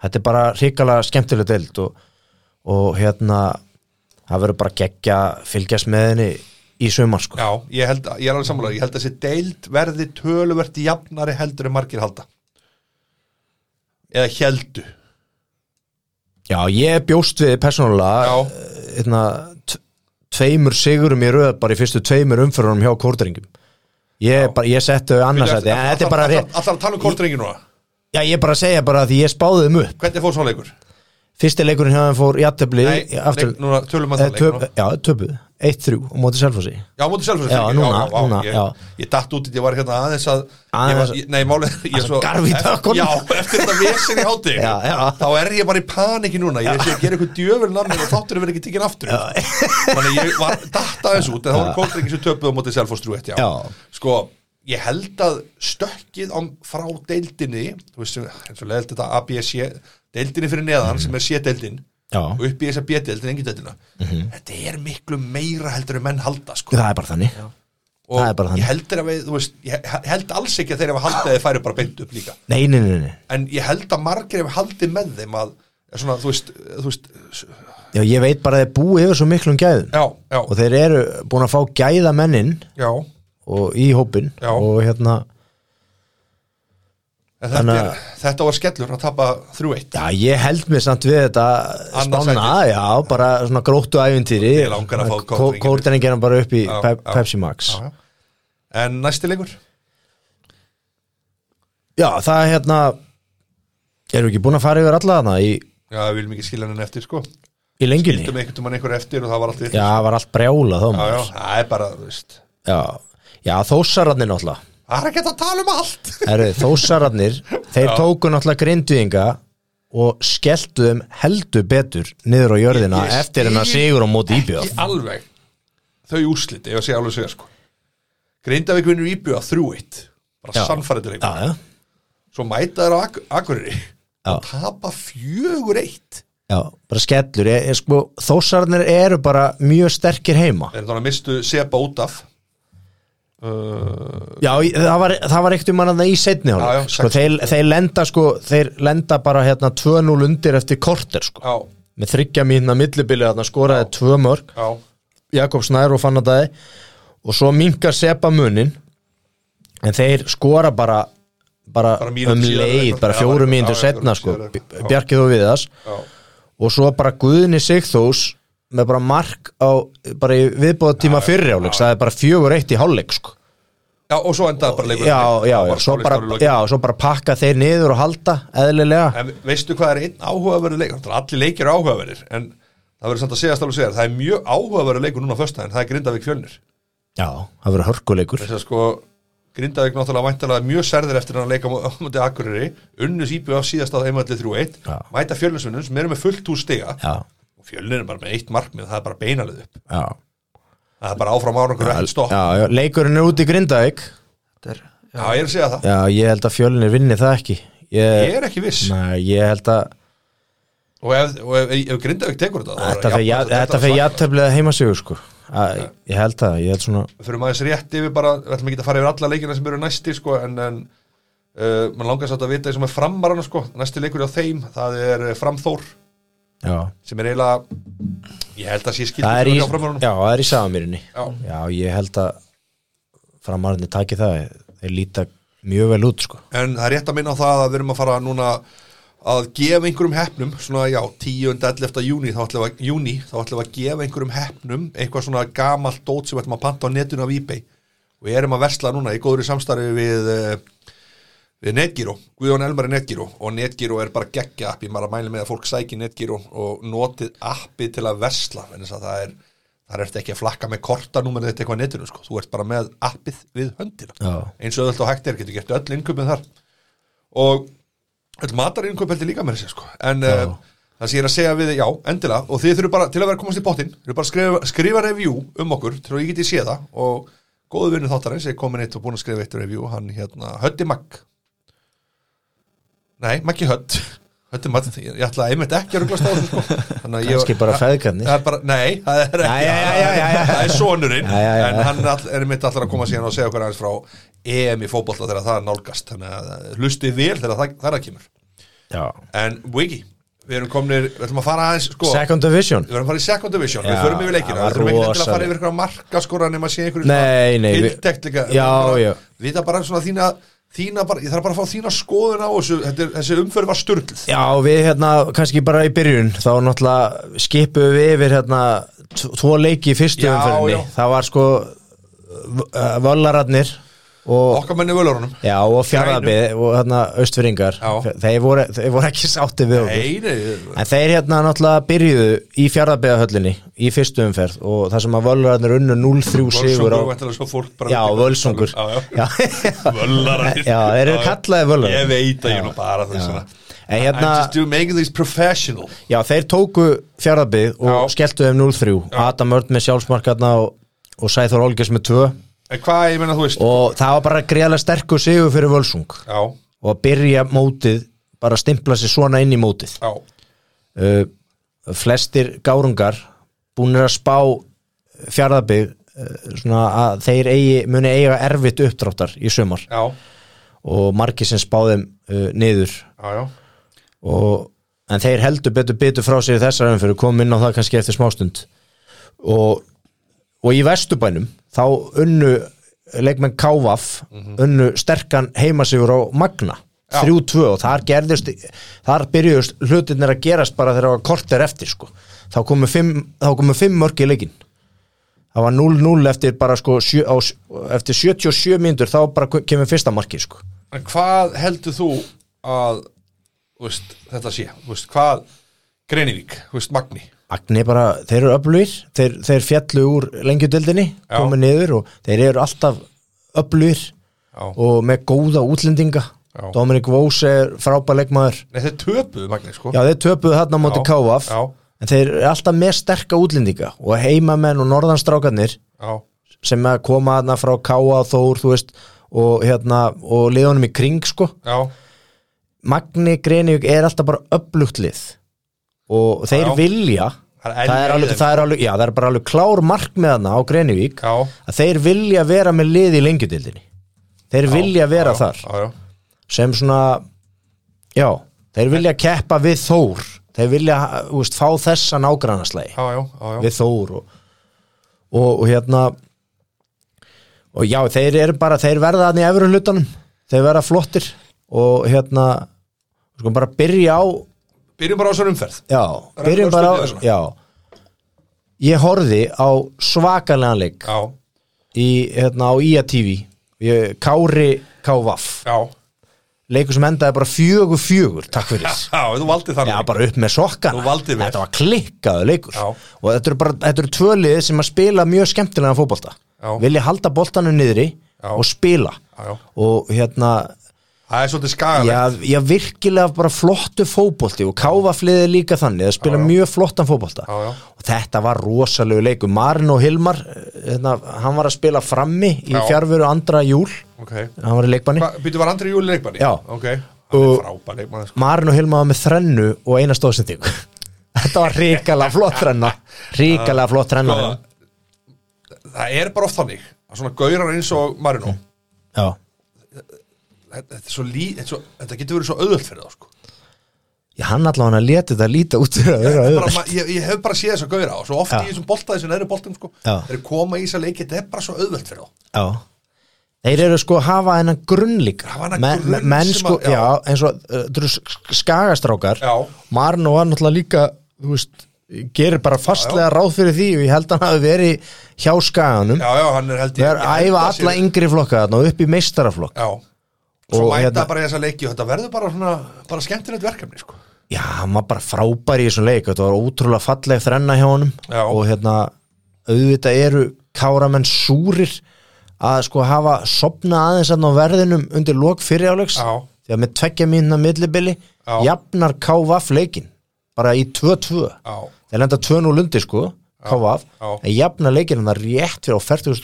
Þetta er bara hrikalega skemmtileg deild og, og hérna það verður bara geggja fylgjast með henni í sumar sko.
Já, ég, held, að- ég er alveg sammála Ég held að þessi deild verði töluvert jafnari heldur en margir halda Eða heldu
Já, ég bjóst við persónulega
Já.
eh, hérna, t- tveimur sigurum í röð bara í fyrstu tveimur umfyrunum hjá kórdringum Ég, bara, ég setti þau annars að þetta er bara rétt
Alltaf að tala um kortringi núna
Já, ég bara segja bara að því ég spáði þeim upp
Hvernig fór svo leikur?
Fyrsti leikurinn hjá þeim fór jættefli
Nei,
aftur,
leik, núna tölum að
eh,
það leik
töp,
núna.
Já, töpuð, 1-3 og mótið selfósi
Já, mútið sjálfsögur
Já, núna, núna,
ég,
já.
ég datt út í því að ég var hérna aðeins að ég
Aðeins
var, ég, Nei, málið ég svo-
garf í
eftir-
tökkunum.
Já, eftir þetta vesin í hátti
Já, já.
Þá er ég bara í paniki núna Ég sé að gera eitthvað djöfur namni og þáttur verið ekki tekinn aftur Þannig að ég var datt aðeins út En það voru kóldrengi sem töpuðu á mótið sjálfsögur eitt, já.
Já.
Sko, ég held að stökkið á, frá deildinni Þú veist, sem- eins og leiðilt þetta ABC Deildinni fyrir
Mm.
neðan sem er C-deildin
Já, Mhm.
og upp í þessa B-deildin, engin deildina Þetta er miklu meira heldur en menn halda sko
það er bara þannig
og
Það er bara þannig.
ég held, þeir að við, þú veist, ég he- held alls ekki að þeir hafa haldið að þeir færi bara beint upp líka
Nei, nei, nei, nei
en ég held að margir hafa haldið með þeim að svona, þú veist, þú veist s-
Já, ég veit bara að þeir búi yfir svo miklum gæðum
já, já,
og þeir eru búin að fá gæða mennin
já
og í hópin
Já.
og hérna,
en þetta,
Þannig
er, þetta var skellur að tapa 3-1
já ég held mér samt við þetta
Annars
spána,
ekki.
já, bara svona gróttu æfintýri
Ég langar að fá kórdrengina.
kórdrengina bara upp í
Já,
Pe-
já.
Pepsi Max
Já, já. en næsti leikur
Já, það er hérna erum við ekki búin að fara yfir alla þarna í,
já, við viljum ekki skilja henni eftir sko við
í lengjunni
veitum einhvern mann einhver eftir og það var alltaf
Já, það var allt brjála þá
já, já,
maður.
það er bara, þú veist
Já, já þósararnir náttúrulega
það er ekki hægt að tala um allt
Herru, þósararnir, þeir tóku náttúrulega grinduðinga og skelltuðum heldur betur niður á jörðina
Ég- ég
eftir hennar
skil
sigur á móti íbjöð
ekki alveg þau úrslit, ef ég sé alveg segja sko Grindavík vinnur íbjöða 3-1 bara
Já.
sannfæriðileg
Já, já,
svo mæta þær á Ak Akureyri og tapa 4-1
já, bara skellur ég, ég, sko, Þósararnir eru bara mjög sterkir heima
er þannig að mistu Seba út af uh,
Já, í- það var, það var ekkert um hann í setni
Já, já,
hálfleik sko,
sex.
þeir, þeir lenda sko, þeir lenda bara hérna 2-0 undir eftir korter sko
Já,
með þryggja mínna millibili þarna skoraði tvö mörg
já,
Jakob Snær og fann að dagi og svo minkar sepa munin en þeir skora bara bara,
Bara mínútu
um
síðar eða
leið,
eitthvað.
bara
Já,
fjóru
já,
mínútur
já,
setna
fjórum
sko,
síðar eða eitthvað. Já.
Bjarkið og Viðas
já
og svo bara Guðni Sigþós með bara mark á bara í viðbóðatíma fyrri áleik það er bara fjögur eitt í hálfleik sko.
Já, og svo endaði bara leikur
já, já, já, svo bara, já, svo bara pakka þeir niður og halda eðlilega
En veistu hvað er einn áhugaverður leikur? Náttúrulega Allir leikir eru áhugaverðir En það verður samt að segja stálu segja Það er mjög áhugaverður leikur núna á föstudaginn Það er Grindavík fjölnir
já, það verður hörkuleikur
Þess að sko Grindavík náttúrulega væntalega mjög særðir eftir hann að leika á móti Akureyri Unnus IBF síðast að einmældi 3-1
Já.
Mæta fjölnisvinnum sem eru með fullt úr stiga
já,
og fjölnir er bara með eitt markmið það er bara beinalið upp
já,
það er bara áfram árangur og
já,
ekkert stopp já,
já leikurinn er út í Grindavík
Þetta er, já,
ég er að segja það
já, ég held að fjölinni vinni það ekki ég,
ég er ekki viss
Eh, nei, ég held að
og ef, og ef, ef Grindavík tekur þetta þá er
þetta
það
fer ja-
jafnvægt- var
þetta fer
svakalegt.
játtöflega heimasögur sko að, ég held það, ég held svona
Við fyrir maður rétt yfir bara við ætlum ekki að fara yfir alla leikina sem eru næstir sko, en, en uh, mann langar satt að vita eins og með framarana sko. næsti leikur á þeim, það er eh, framþór
já,
sem er eiginlega ég held að sé skilt
það er í,
á framaranum
já, það er í sagamýrinni
Já.
já, ég held að framarðinni taki það, þeir líta mjög vel út sko
en það er rétt að minna á það að við erum að fara núna að gefa einhverjum hefnum svona já, 10. 11. júni þá ætlum við að, júni, þá ætlum við að gefa einhverjum hefnum eitthvað svona gamalt dót sem við ætlum að panta á netinu af eBay og við erum að versla núna í góðri samstarfi við eh, við Netgyro, Guðjón Elmar er Netgyro og Netgyro er bara geggja appi maður að mæla með að fólk sæki Netgyro og notið appi til að versla en þess að það er, það er ekki að flakka með kortanúmerið þetta eitthvað á netinu sko. þú ert bara með appið við höndina
Já.
eins og öðvöld og hægt er, getur gert öll innköpum þar og öll matarinnkaup heldur líka með þessi sko en
Já.
uh, það sem ég er að segja við, já, endilega og þið þurfum bara, til að vera að komast í bottin þið þurfum bara að skrifa, skrifa review um okkur til að ég geti séð það og góðu vinnu þáttarins er komin eitt og búin að skrifa eitt review hann hérna, Höddi Magg nei, Maggi Hödd Höddi Magg, ég, ég ætla einmitt ekki að ruggla stáð sko. Þannig að ég-
Kannski bara
það-
feðgarnir.
það er bara, nei, það er ekki
Já, já, já, já, já, já.
það er sonurinn
Já, já, já.
en hann all, er mitt allar að koma síðan og segja okkur aðeins frá EM í fótbolta þegar það nálgast þannig að eh, hlustið vel þegar það, það kemur
já.
en Wiggy, við erum komnir við ætlum að fara aðeins sko
Second Division
við erum að fara í second division,
Já,
við förum yfir leikina
það var
við þurfum ekki endilega að
rosaleg.
fara yfir eitthvað marka skora nema að sé einhverju
Nei, nei, við-
tiltekt líka
Já,
bara,
já.
vita bara svona þína, þína bara, ég þarf bara að fá þína skoðun á þessu, þetta er- þessi umförð var sturgl
Já, við hérna, kannski bara í byrjun þá náttúrulega skipum við yfir hérna, tvo tvo leiki í fyrstu
Já,
umferðinni
já.
það var sko v- eh, völararnir og,
okkar menni völurunum
já, og fjárðabið og hérna austfyrringar
Já.
þeir voru, þeir voru ekki sátti við okkur
nei, nei,
en þeir hérna náttúrulega byrjuðu í fjárðabiðahöllinni í fyrstu umferð og það sem að völararnir unnu 0-3
Völsungur,
sigur á
væntanlega svo fólk bara-
Já, völsungur
Já, já.
Já,
Völlararnir.
Já, þeir
Já,
eru
já.
kallaðir völlararnir.
Ég veit að ég er nú
Já.
bara þess
Já.
að
En
I'm
hérna
just doing, making these professional
Já, þeir tóku fjárðabið og
Já.
skelltu þeim 0-3 Adam Örd með sjálfsmarkarna og, og Sæþór Olgers með 2
En hvað, ég meina, þú veist
og það var bara greiðlega sterkur sigur fyrir Völsung
Já,
og að byrja mótið bara að stimpla sig svona inn í mótið
já,
uh, flestir gárungar búnir að spá fjárðabið uh, svona að þeir eigi, muni eiga erfitt uppdráttar í sumar
já,
og margir sem spáðum uh, niður
já, já
og, en þeir heldur betur bitur frá sér í þessar umfyrir komum inn á það kannski eftir smástund og, og í vestubænum þá unnu leikmenn Kávaf unnu sterkan heimasigur á Magna
Já.
3-2 og þar gerðist þar byrjuðust hlutirnir að gerast bara þegar það var korter eftir sko. þá komu fimm, þá komu fimm mörg í leikin það var 0-0 eftir bara sko sjö, á, s- eftir 77 mínútur þá bara kemur fyrsta markið sko
En hvað heldur þú að þú veist, þetta sé, þú veist, hvað Greinivík, þú veist, Magni
Magni bara, þeir eru öflugir þeir, þeir fjallu úr lengjudildinni
Já.
komu niður og þeir eru alltaf öflugir
Já.
og með góða útlendinga
Já.
Dominic Vós er frábær leikmaður
Nei, þeir töpuðu Magni, sko
Já, þeir töpuðu þarna á móti
Já.
Kávaf
Já.
en þeir eru alltaf með sterka útlendinga og heimamenn og norðanstrákarnir
já,
sem að koma þarna frá Káa Þór, þú veist og hérna, og liðunum í kring sko
já,
Magni Grenivík er alltaf bara öflugt lið og þeir
Já.
vilja
Það
það er, alveg, það, er alveg, já, það er bara alveg klár mark með hana á Grenivík
Já,
að þeir vilja vera með lið í lengjudildinni þeir vilja vera
já,
þar
já, já.
sem svona já, þeir vilja keppa við Þór þeir vilja úst, fá þessa nágrannaslægi
Já, já, já, já.
við Þór og, og, og hérna og já, þeir eru bara, þeir verða þannig efru hlutanum, þeir verða flottir og hérna sko bara byrja á,
Byrjum bara á svo umferð
já
Bara
byrjum bara á,
örstutt í þessu.
já ég horfði á svakalega leik
Já,
í, hérna, á IA TV ég, Kári Kávaf
já,
leikur sem endaði bara fjögur fjögur, takk fyrir
já, þú valdið
Já,
þannig
bara upp með sokkana
Þú valdir vel.
Þetta var klikkaðu leikur
Já.
Og þetta eru, bara, þetta eru tvö lið sem að spila mjög skemmtilega fótbolta
Já.
Vilja halda boltanum niðri
Já.
og spila
Já, já.
Og hérna
Það er svolítið skagalegt
já, já, virkilega bara flottu fótbolti Og káfafliði líka þannig Það spila mjög flottan fótbolta
Já, já.
Og þetta var rosalegu leikur Marin og Hilmar, hérna, hann var að spila frammi Í
Já.
fjárveru andra júl
Ok,
Hann var í leikbanni
Hva- býttu var andri júli leikmanni?
Já.
Ok, hann er
Og-
frábær leikmann sko.
Marin og Hilma var með þrennu og eina stóðsendingu Þetta var ríkala flott þrenna Ríkala flott þrenna
Sko, Það er bara oft þannig að svona gaurar eins og Marino
Já.
þetta, þetta, er svo lí, þetta, er svo, þetta getur verið svo auðvöld fyrir þá sko.
Já, hann allavega hann að leta þetta líta út fyrir að vera
Þetta er bara,
auðvelt.
ma- ég, ég hef bara séð þess að gauðra á svo oft
Já.
í þessum bolta, þessum neðri boltum sko,
Já.
þeir koma í þess að leiki, þetta er bara svo auðvelt fyrir þá
Já. Þeir eru sko að hafa hennan grunn líka
Hafa þennan
Men-
grunn
men- Menn
sem
sko,
að- já.
já, eins og uh, þetta eru sk- skagastrákar
Já.
Marno var náttúrulega líka þú veist, gerir bara fastlega ráð fyrir því og ég held að hann hafi verið hjá skaganum
já, já, hann er held
Þeir eru að æfa alla yngri flokka þarna og upp í meistaraflokk
já, og svo
Og
mæta
hérna-
bara í þess að leiki og þetta verður bara, svona, bara skemmtilegt verkefni sko.
Já, hann var bara frábær í þessum leik þetta var ótrúlega falleg þrenna hjá honum
Já.
og hérna, auðvitað eru káramenn súrir að sko hafa sopna aðeins að á verðinum undir lok fyriráleiks
Já.
því að með tveggja mínuna millibili
Já.
jafnar KVF leikinn bara í 2-2
já,
þeir lenda 2-0 undir sko KVF,
Já.
en jafnar leikinn hann rétt fyrir á 41.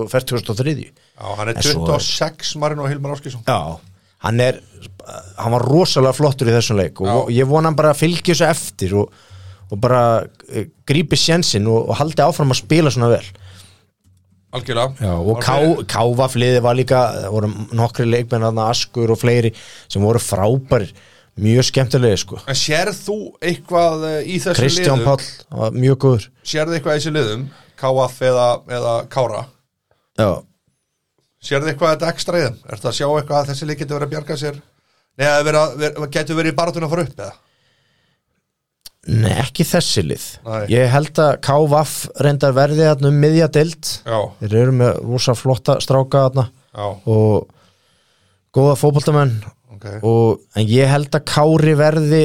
og 43.
já, hann er
En svo-
26 Marino Hilmar Áskísson
Já, hann er hann var rosalega flottur í þessum leik og
Já.
ég vona hann bara að fylgja þessu eftir og, og bara eh, grípi sjensin og, og haldi áfram að spila svona vel
algjörlega
Já, og
Var
ká,
fyrir-
Kávafliði var líka það voru nokkri leikmenn aðna Askur og fleiri sem voru frábær mjög skemmtilegi sko
en sér þú eitthvað eh, í þessu
Kristján
liðum
Páll, hann var mjög góður
sérðu eitthvað í þessu liðum KF eða, eða Kára
Já,
sérðu eitthvað að þetta ekstra í þeim ertu að sjá eitthvað að þessi lið getur verið að bjarga sér neða vera, vera, getur verið í baratun að fara upp eða
Nei, ekki þessi lið
Nei.
Ég held að Kávaf reyndar verði hann um miðja deild
já,
Þeir eru með rosa flotta stráka þarna
já,
og góða fótboltamenn
ok
og, en ég held að Kári verði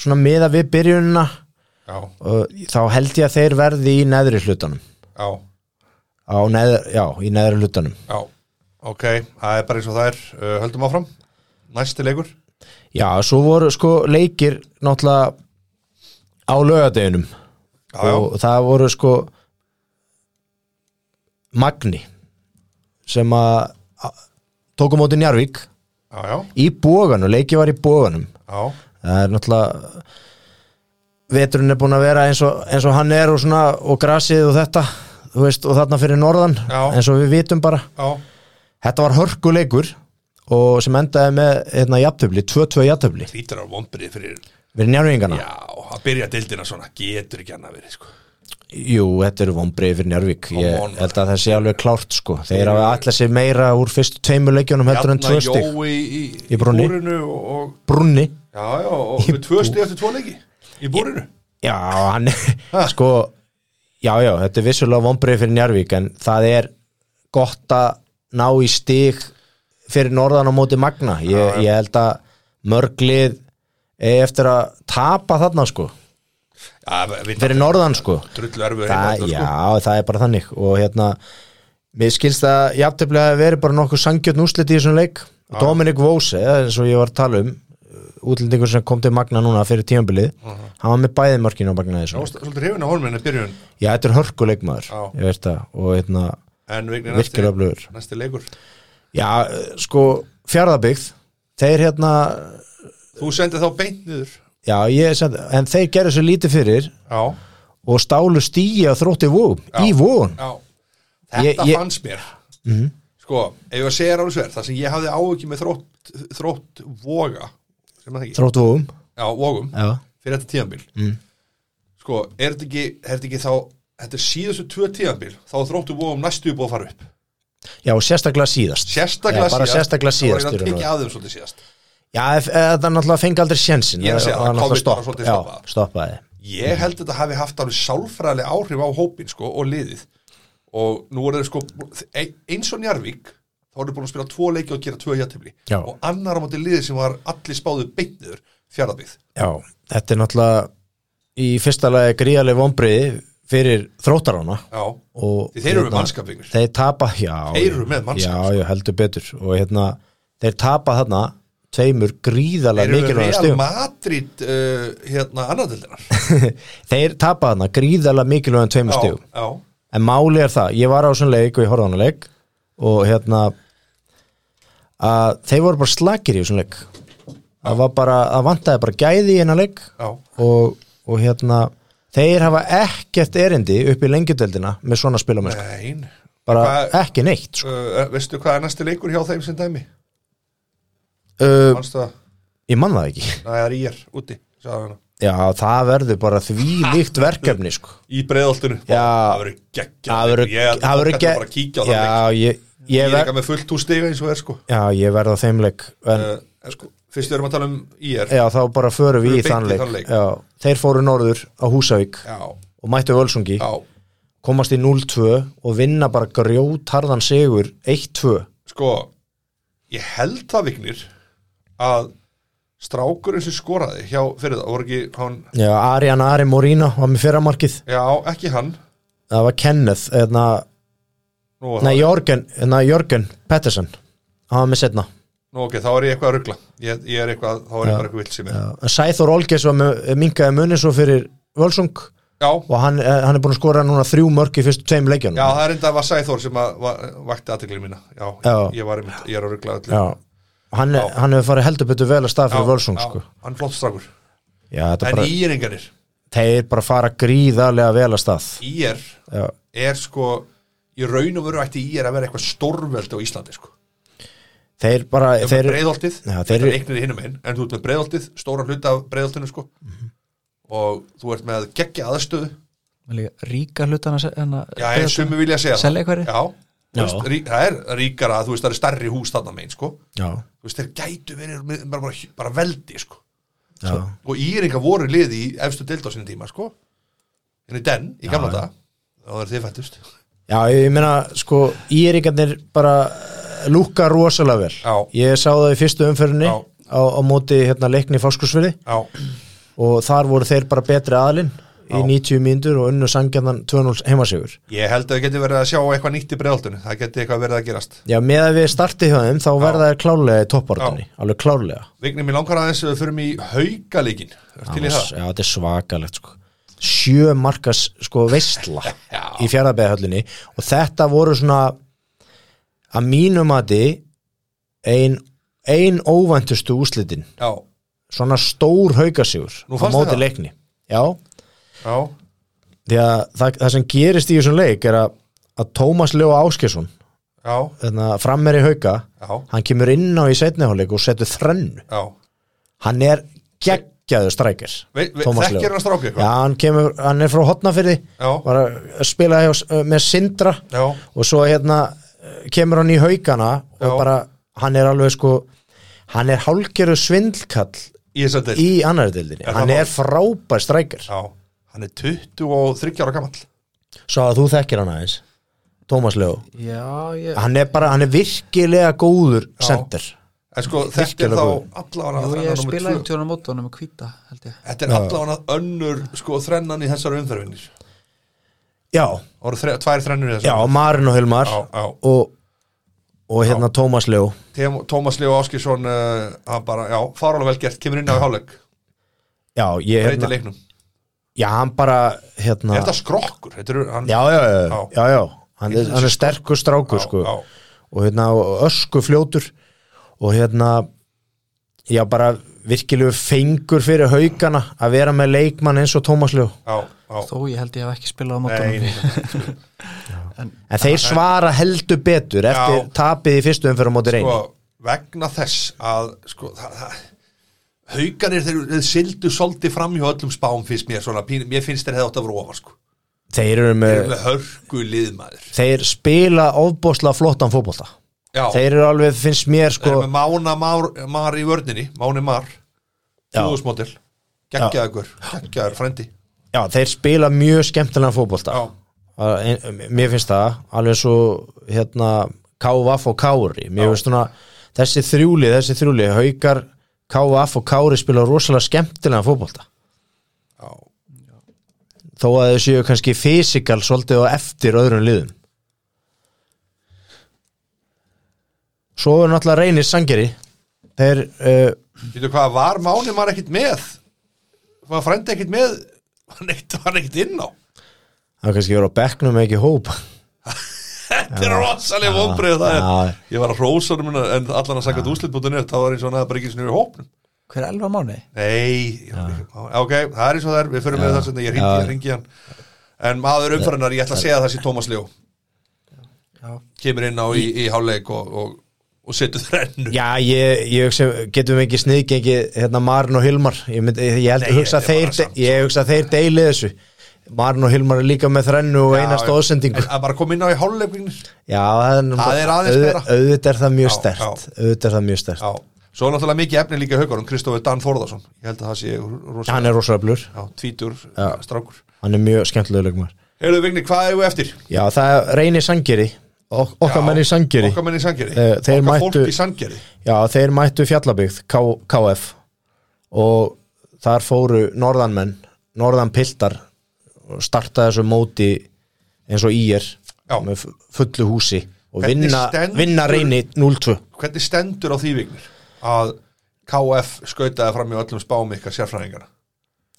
svona miða við byrjunina
já,
og þá held ég að þeir verði í neðri hlutanum
já,
á neðri, já, í neðri hlutanum
já ok, það er bara eins og það er uh, höldum áfram, næsti leikur
já, svo voru sko leikir náttúrulega á laugadeginum
já, já,
og það voru sko Magni sem að tókum móti Njarvík
já, já,
í bóganum, leikið var í bóganum
já
það er náttúrulega veturinn er búin að vera eins og, eins og hann er og svona og grasið og þetta þú veist, og þarna fyrir norðan
Já.
eins og við vitum bara
já,
þetta var hörkuleikur og sem endaði með hérna jafntöfli, 2-2 jafntöfli
hlýtur á vombrið fyrir
við njárvíkingana
já, að byrja dildina svona getur ekki annað verið sko
jú, þetta eru vombrið fyrir njárvík
on,
ég
maður.
held að það sé alveg klárt sko þeir hafa allir sér meira úr fyrstu tveimur leikjunum heldur en tvö stig
Jói í, í,
Í brúnni.
búrinu og, og,
brunni
já, já, og með tvö stig eftir tvo leiki í búrinu
Já, hann sko, já, já, þetta er vissulega vonbrið fyrir Njarvík en það er gott að ná í stig fyrir norðan á móti Magna ég, ég held að mörglið eftir að tapa þarna sko,
já, við-
fyrir norðan sko
drullu erfiður
það,
heimavöllur, sko.
Já, það er bara þannig og hérna, mér skilst að jafntöflega hafi verið bara nokkuð sangjötn úslit í þessum leik Dominic Vose, eins og ég var að tala um útlendingur sem kom til Magna núna fyrir tímabilið, hann var með bæði mörkin á Magna þessu
Já, st- svolítið hrifin á honum en að byrjun
Já, þetta er hörkuleikmaður
Já.
Ég veist það Og hérna
en Vignir, næsti,
Virkilega öflugur.
næsti leikur
Já, sko Fjarðabyggð Þeir hérna
þú sendið þá beint niður
já, ég, er samt- en þeir gerðu svo lítið fyrir
já,
og stálu stíi að þrótti vóum, í vóum
já. þetta
Ég- Mhm. ég-
fannst mér sko, ef ég að segja ráðum sver það sem ég hafði áhugi með þrótt þrótt voga sem það ekki,
þrótti vóum
já, vogum
já,
fyrir þetta tíðanbíl
Mm.
sko, er þetta ekki, er þetta ekki þá þetta er síðustu tvö tíðanbíl þá er þróttu vóum næstu búið að fara upp
já og sérstaklega síðast
sérstaklega
Já, bara
síðast
sérstaklega síðast,
það var
í raun
ekki
og
að þeim svolítið síðast
já, ef- eða það náttúrulega fengi aldrei sjensin
Ég er að segja, það
náttúrulega
COVID bara
stopp,
svolítið
já,
stoppaði.
stoppaði
ég held að þetta hafi haft alveg sálfræðileg áhrif á hópin sko og liðið og nú er þeir sko ein- eins og Njarvík þá eru búin að spila tvo leiki og gera tvö jættifli
Já.
og annar á móti liðið sem var allir spáðu beintniður fjaraðbyggð
já, þetta er náttúrulega í fyrsta lagi gríðarlega vonbriði fyrir þróttarána
já,
og
því þeir eru með
hérna,
mannskapingur
þeir tapa, já
Þeir eru með mannskap, sko.
já, já, heldur betur og hérna, þeir tapa þarna tveimur
þeir
gríðarlega
eru með
mikilvægum
Real
stigum
Madrid uh, hérna annardeldinar
þeir tapa þarna gríðarlega mikilvægum tveimur
já,
stigum
já,
en máli er það, ég var á svona leik og ég horfði á svona leik og hérna að þeir voru bara slakir í svona leik það var bara, það vantaði bara gæði í hérna leik
já,
og, og hérna þeir hafa ekkert erindi upp í lengjudeldina með svona spilamennsku,
nein
bara
Hvað-
ekki neitt sko.
uh, veistu hvað er næsti leikur hjá þeim sem dæmi?
uh,
Manstu það?
ég man það ekki
Nei, það er ír úti sagði hann.
já, það verður bara því líkt verkefni sko.
í breiðoltinu
Já.
það verður geggjað
það verður
leikur. ég
það verður
ætla
ge-
bara að kíkja á það leik.
já, ég,
ég
ég,
er
ver,
ekki með fullt úr stiga eins og er sko
já, ég verð á þeim leik en,
uh, sko, fyrst við erum að tala um IR
já, þá bara förum við
Förum
í
beint
þann
í
leik,
þann leik.
Já, þeir fóru norður á Húsavík
já,
og mættu Völsungi,
já,
komast í 0-2 og vinna bara grjótarðan sigur 1-2
sko ég held það vignir að strákurinn sem skoraði hjá fyrir það, voru ekki hann
já, Arian Ari Morína var með fyrramarkið
já, ekki hann
það var Kenneth, eðna,
nú, var
nei,
það-
Jörgen, eðna, Jörgen Pettersson, hann var með setna
nú ok, þá er ég eitthvað að ruggla ég, ég er eitthvað, þá er
Já.
ég bara eitthvað vilt sem er já,
En Sæþór Olges var með, minkaði munið svo fyrir Völsung
já,
og hann, eh, hann er búin að skora núna þrjú mörk í fyrstu tveim leikjunum
það er enda að var Sæþór sem að, var, vakti aðteklið mína já,
Já.
Ég, var, einmitt- ég er að ruggla öllu
Já. Hann, hann hefur farið heldur betur vel að stað fyrir Völsung
já,
sko.
hann flott strákur
já, þetta
en
bara,
íringarnir,
þeir bara fara gríðarlega vel að stað
IR
já.
er sko í raun og veru ætti IR að vera eitthvað stórveld á Íslandi sko
þeir bara
Þeir eru
þeir,
með breiðoltið,
Já,
þeir
þeir-
eru eignir í hinum einn, en þú ert með breiðoltið, stóra hluta af breiðoltinu sko og þú ert með geggja aðstöðu
Líka ríka hlutana
Já, en sumi vilja segja
Selja eitthvað?
Já, þú
Já.
veist, rí, það er ríkara þú veist, það er starri hús þarna megin sko
já,
þú veist, þeir gætu verið með, bara, bara, bara veldi sko
já,
og íringa voru liði í efstu deild á sinni tíma sko en í den, í gamla dag þá er þið fættust
já, ég meina sko, íringarnir bara eh, lúkka rosalega vel
Já.
ég sá það í fyrstu umferðinni
Já.
á, á móti hérna, leikni í Fáskursfili
Já,
og þar voru þeir bara betri aðlinn í 90 mínútur og unnu sangjarnan 2-0 heimasigur
ég held að þau geti verið að sjá eitthvað nýtt í breiðoltinu, það geti eitthvað verið að gerast
já, með að við startið hjá þeim þá verða þeir klárlega í toppartunni, alveg klárlega
Vignir, mér langar aðeins að við förum í haukaleikin til í
Annars,
það
já, þetta er svakalegt sko. sjö markas sko, veistla
Já.
í fjaraðbeðhöllinni og þetta voru svona að mínum mati ein, ein óvæntustu úslitin
Já,
svona stór haukasjúr
Nú
á
fannst þér
móti
það?
leikni já,
já,
því að það, það sem gerist í þessum leik er að, að Tómas hérna, Leo Áskesson
já,
frammeri hauka
já,
hann kemur inn á í setniháleik og setur þrennu
já
hann er geggjaður strækir
Ve- ve-
Tómas Leó.
Þekkir hann stráki
Já,
eitthvað?
hann, kemur, hann er frá Hotnafyrði
Já.
var að spila hjá, með Sindra
Já,
og svo hérna eh, kemur hann í haugana og
Já.
bara, hann er alveg sko hann er hálgeru svindlkall
í þess að
í annari dildinni,
Er það
hann
mál?
er frábær strækir,
Já, hann er 23 ára gamall
svo að þú þekkir hann aðeins Tómas Leó
Já, ég,
hann er bara, hann er virkilega góður sendir,
En sko, þetta er
Virkilega
þá
góður.
allavega
jú,
þrenna
ég
númer
spilaði um
tvö.
tjóna mót honum að hvíta, held ég
Þetta er allavega önnur sko þrennan í þessari umferðinir Það
já,
voru þre, tvær þrennur í
já,
þessari
Marin og Hilmar
Já, já.
og og hérna Tómas Leó
Tem- Tómas Leo Áskisson uh, hann bara, já, faralega vel gert, kemur inn á í hálfleik
já, ég,
breytir
hérna,
leiknum
já, hann bara hérna,
Er þetta skrokkur? Þetta er, hann,
já, já, já,
Já.
já, já, Hann, er, hann er sterkur strákur sko.
já,
og hérna og ösku fljótur og hérna já bara virkilegu fengur fyrir haugana að vera með leikmann eins og Tómas Ljó
á, á
þó ég held ég hef ekki spilað á
Nei,
mótunum
nei, nei.
en þeir svara heldur betur eftir
Já.
tapið í fyrstu umfyrir móti reyni
sko, vegna þess að sko, það, það hauganir þeir, þeir sildu svolítið fram hjá öllum spám fyrst mér svona, pín- mér finnst þeir hefði átt að vera ofar sko.
þeir eru
þeir
með
eru með hörku liðmaður
þeir spila ofbosla flottan fótbolta
já, þeir,
þeir eru alveg, finnst mér sko
eru með Mána Már, Már í vörninni Máni Már,
Já.
þúðusmótil geggjaður, geggjaður frendi
já, þeir spila mjög skemmtilegan fótbolta
já,
Að- en- mér finnst það alveg svo hérna KVF og Kári mér finnst svona þessi þrjúli, þessi þrjúli haukar KVF og Kári spila rosalega skemmtilegan fótbolta
já,
þó að þau séu kannski fysikal svolítið og eftir öðrum liðum svo er náttúrulega reynir sangeri þeir uh,
veitu hvað, var Máni Már ekkit með var frendi ekkit með hann ekkit, hann ekkit inn á
það er kannski verið á bekknum en ekki í hóp
þetta er rosalega vonbrið það er
Já,
Ég var að hrósa honum en en allan að sagja ja. úslitbútinu þá var eins og hann hefði bara ekki sinni í hópnum
hver er elva mánu?
Nei, ja. ok, það er eins og það er við förum með það sem ég
Já.
ringi, ringi hann en maður umfærinar, ég ætla að segja það sé Tómas Ljó
Já.
kemur inn á í, í háleik og, og, og setur þrennu
já ég, ég hugsa, getum við ekki sniðgengi hérna Marin og Hilmar ég, mynd, ég, held,
Nei,
hugsa
ég-
að
ég var
þeir,
að samt-
ég hugsa að þeir deili þessu Marin og Hilmar er líka með þrennu og einasta
en
ósendingu
að bara koma inn á í háleikinu já.
já, það er,
Það er aðeins
auð-
meira.
auðvitað er það mjög
Já,
stert
já.
auðvitað er það mjög stert
svo er náttúrulega mikið efni líka haugarum Kristofur Dan Þórðarsson, ég held að það sé rosa,
hann er rosaflur,
já, tvítur,
Já.
strákur
hann er mjög skemmtilega leikmar
Heyrðu Vigni, hvað eigum við eftir?
Já, það reynir sangeri ok, Okkar menn í sangeri
Okkar menn í sangeri
Eh, þeir
Okkar
mættu-
fólk í sangeri
Já, þeir mættu fjallabyggt K, KF og þar fóru norðanmenn norðan piltar og starta þessu móti eins og í er
Já.
með fu- fullu húsi og
Hvernig
vinna,
stendur-
vinna reyni 0-2
hvernig stendur á því vignir að KF skautaði fram í öllum spám ykkar sérfræðingarna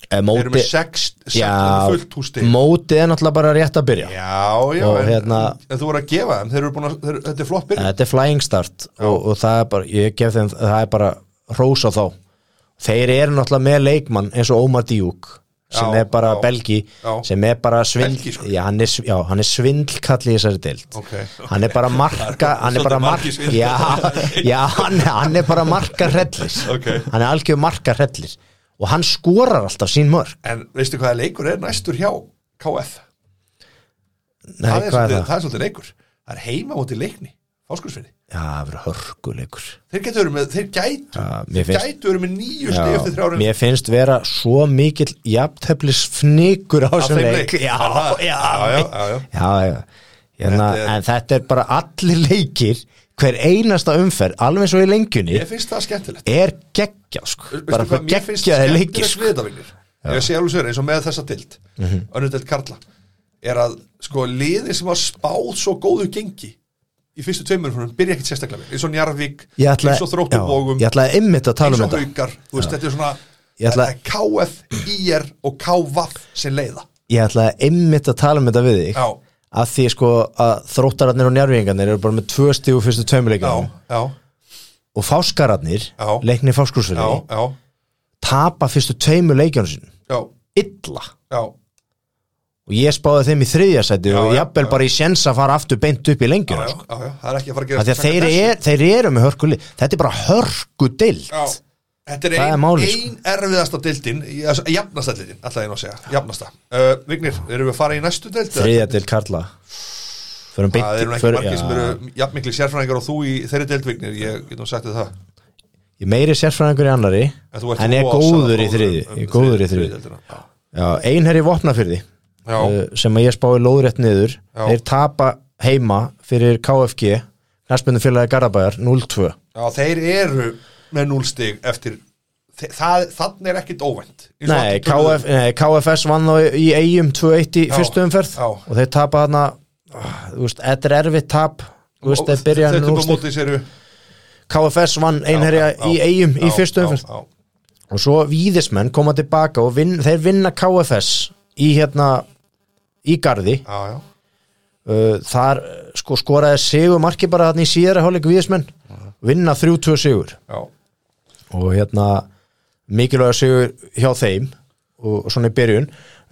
Eh,
Þeir eru
móti,
með sex, sex
Já,
fullt hústi Já,
móti er náttúrulega bara rétt að byrja
já,
Og
en,
hérna-
en þú voru að gefa þeim þeir eru búin að, þeir, þetta er flott byrjun
Þetta er flying start og, og það er bara, ég gef þeim, það er bara rósa þá. Þeir eru náttúrulega með leikmann eins og Ómar Díúk sem
Já,
er bara
já,
belgi,
já.
sem er bara svindl,
Belgi, sko.
já, hann er, sv- já, hann er svindlkall í þessari deild.
Ok.
Hann er bara marka, hann er bara
Svolítið
marka,
margir svindlar.
já, já hann, hann er bara marka hrellir.
Ok.
Hann er algjör marka hrellir og hann skorar alltaf sín mörg.
En veistu hvaða leikur er næstur hjá KF?
Nei,
það, er
hvað er
svolítið,
það?
er svolítið leikur Það er heima móti leikni, fáskursfinni
Já, það verður hörkuleikur.
Þeir gætu verið með, þeir gætu
Já, mér
Þeir
finnst-
gætu verið með nýju
Já,
stegi eftir þrjárum
mér finnst vera svo mikill jafnteflis fnikur á sem
þeim
leik
leik.
já,
Er það? Já,
já,
já, já, já.
já, já. Hérna,
Þetta er-
en þetta er bara allir leikir hver einasta umferð, alveg svo í lengjunni
Ég finnst það skemmtilegt
er geggjað sko.
Veistu
bara
hvað mér finnst
geggjaði
skemmtilegt
leikir
við
sko. Mhm.
þetta vinnir ég sé alveg sér eins og með þessa dild mm -hmm. önnur dild Karla er að sko liði sem var spáð svo góðu gengi í fyrstu tveimur fyrir byrja ekkit sérstaklega vel eins og Njarvík,
ég ætlaði
eins og Þrótturbógum
já, ég ætlaði einmitt að tala
eins
um
og
þetta
Haukar þú veist, þetta er svona
Ég ætla-
það er KF, IR og KVF sem leiða
ég ætlaði einmitt að tala um þetta við þig
já,
að því sko að þróttararnir og njárvíðingarnir eru bara með tvö stíu fyrstu
já,
tveimileikir
já,
og fáskararnir,
Já.
leikni
já,
fáskursfélagi
já,
tapa fyrstu tveimu leikjónu sinum
já,
illa
já.
og ég spáði þeim í þriðja sæti
Já,
og
já,
jafnvel
já.
bara í séns að fara aftur beint upp í
Já,
lengjuna
já,
sko.
já, já, það er ekki að fara að gera
Af því að þeir, er, þeir eru með hörkuli þetta er bara hörku deilt
Já, þetta er
Það
ein,
er málið, sko.
ein erfiðasta deildin í- þess- jafnasta deildin, alltaf ég nú að segja jafnasta. Uh, Vignir, erum við að fara í næstu deild?
þriðja deil Karla förum beint
Það eru nú ekki
förum-
margir sem
já.
eru jafnmikli sérfræðingar og þú í þeirri deild, Vignir, ég get nú sagt þér það
ég er meiri sérfræðingur í annari
En þú ert
en ég er
rosalega
góður í
góður
þriðju
um
ég er góður í
þriðju
þriðju
deildina. Já.
já, einherri vopnafyrði
Já.
uh, sem að ég spáði lóðrétt niður
Já.
þeir tapa heima fyrir KFG knarspundufélagi Garðabæjar 0-2
Já, þeir eru með núlstig eftir, þe- það, þannig er ekkit óvænt Eins og
Nei,
allir töluðu-
KF, nei, KFS vann þá í eigum 2-1 í
Já,
fyrstu umferð
já.
og þeir tapa þarna ah, þú veist, þetta er erfitt tap þú veist,
og
þeir byrja
Þetta er
nú
bara
stík
mótið sér
KFS vann einherja í eigum í fyrstu umferð
Já,
og svo víðismenn koma tilbaka og vin, þeir vinna KFS í hérna í garði
já, já,
uh, þar uh, sko skoraði sigur marki bara þarna í síðara hálfleik víðismenn vinna 3-2 sigur
já,
og hérna mikilvæg að sigur hjá þeim og svona í byrjun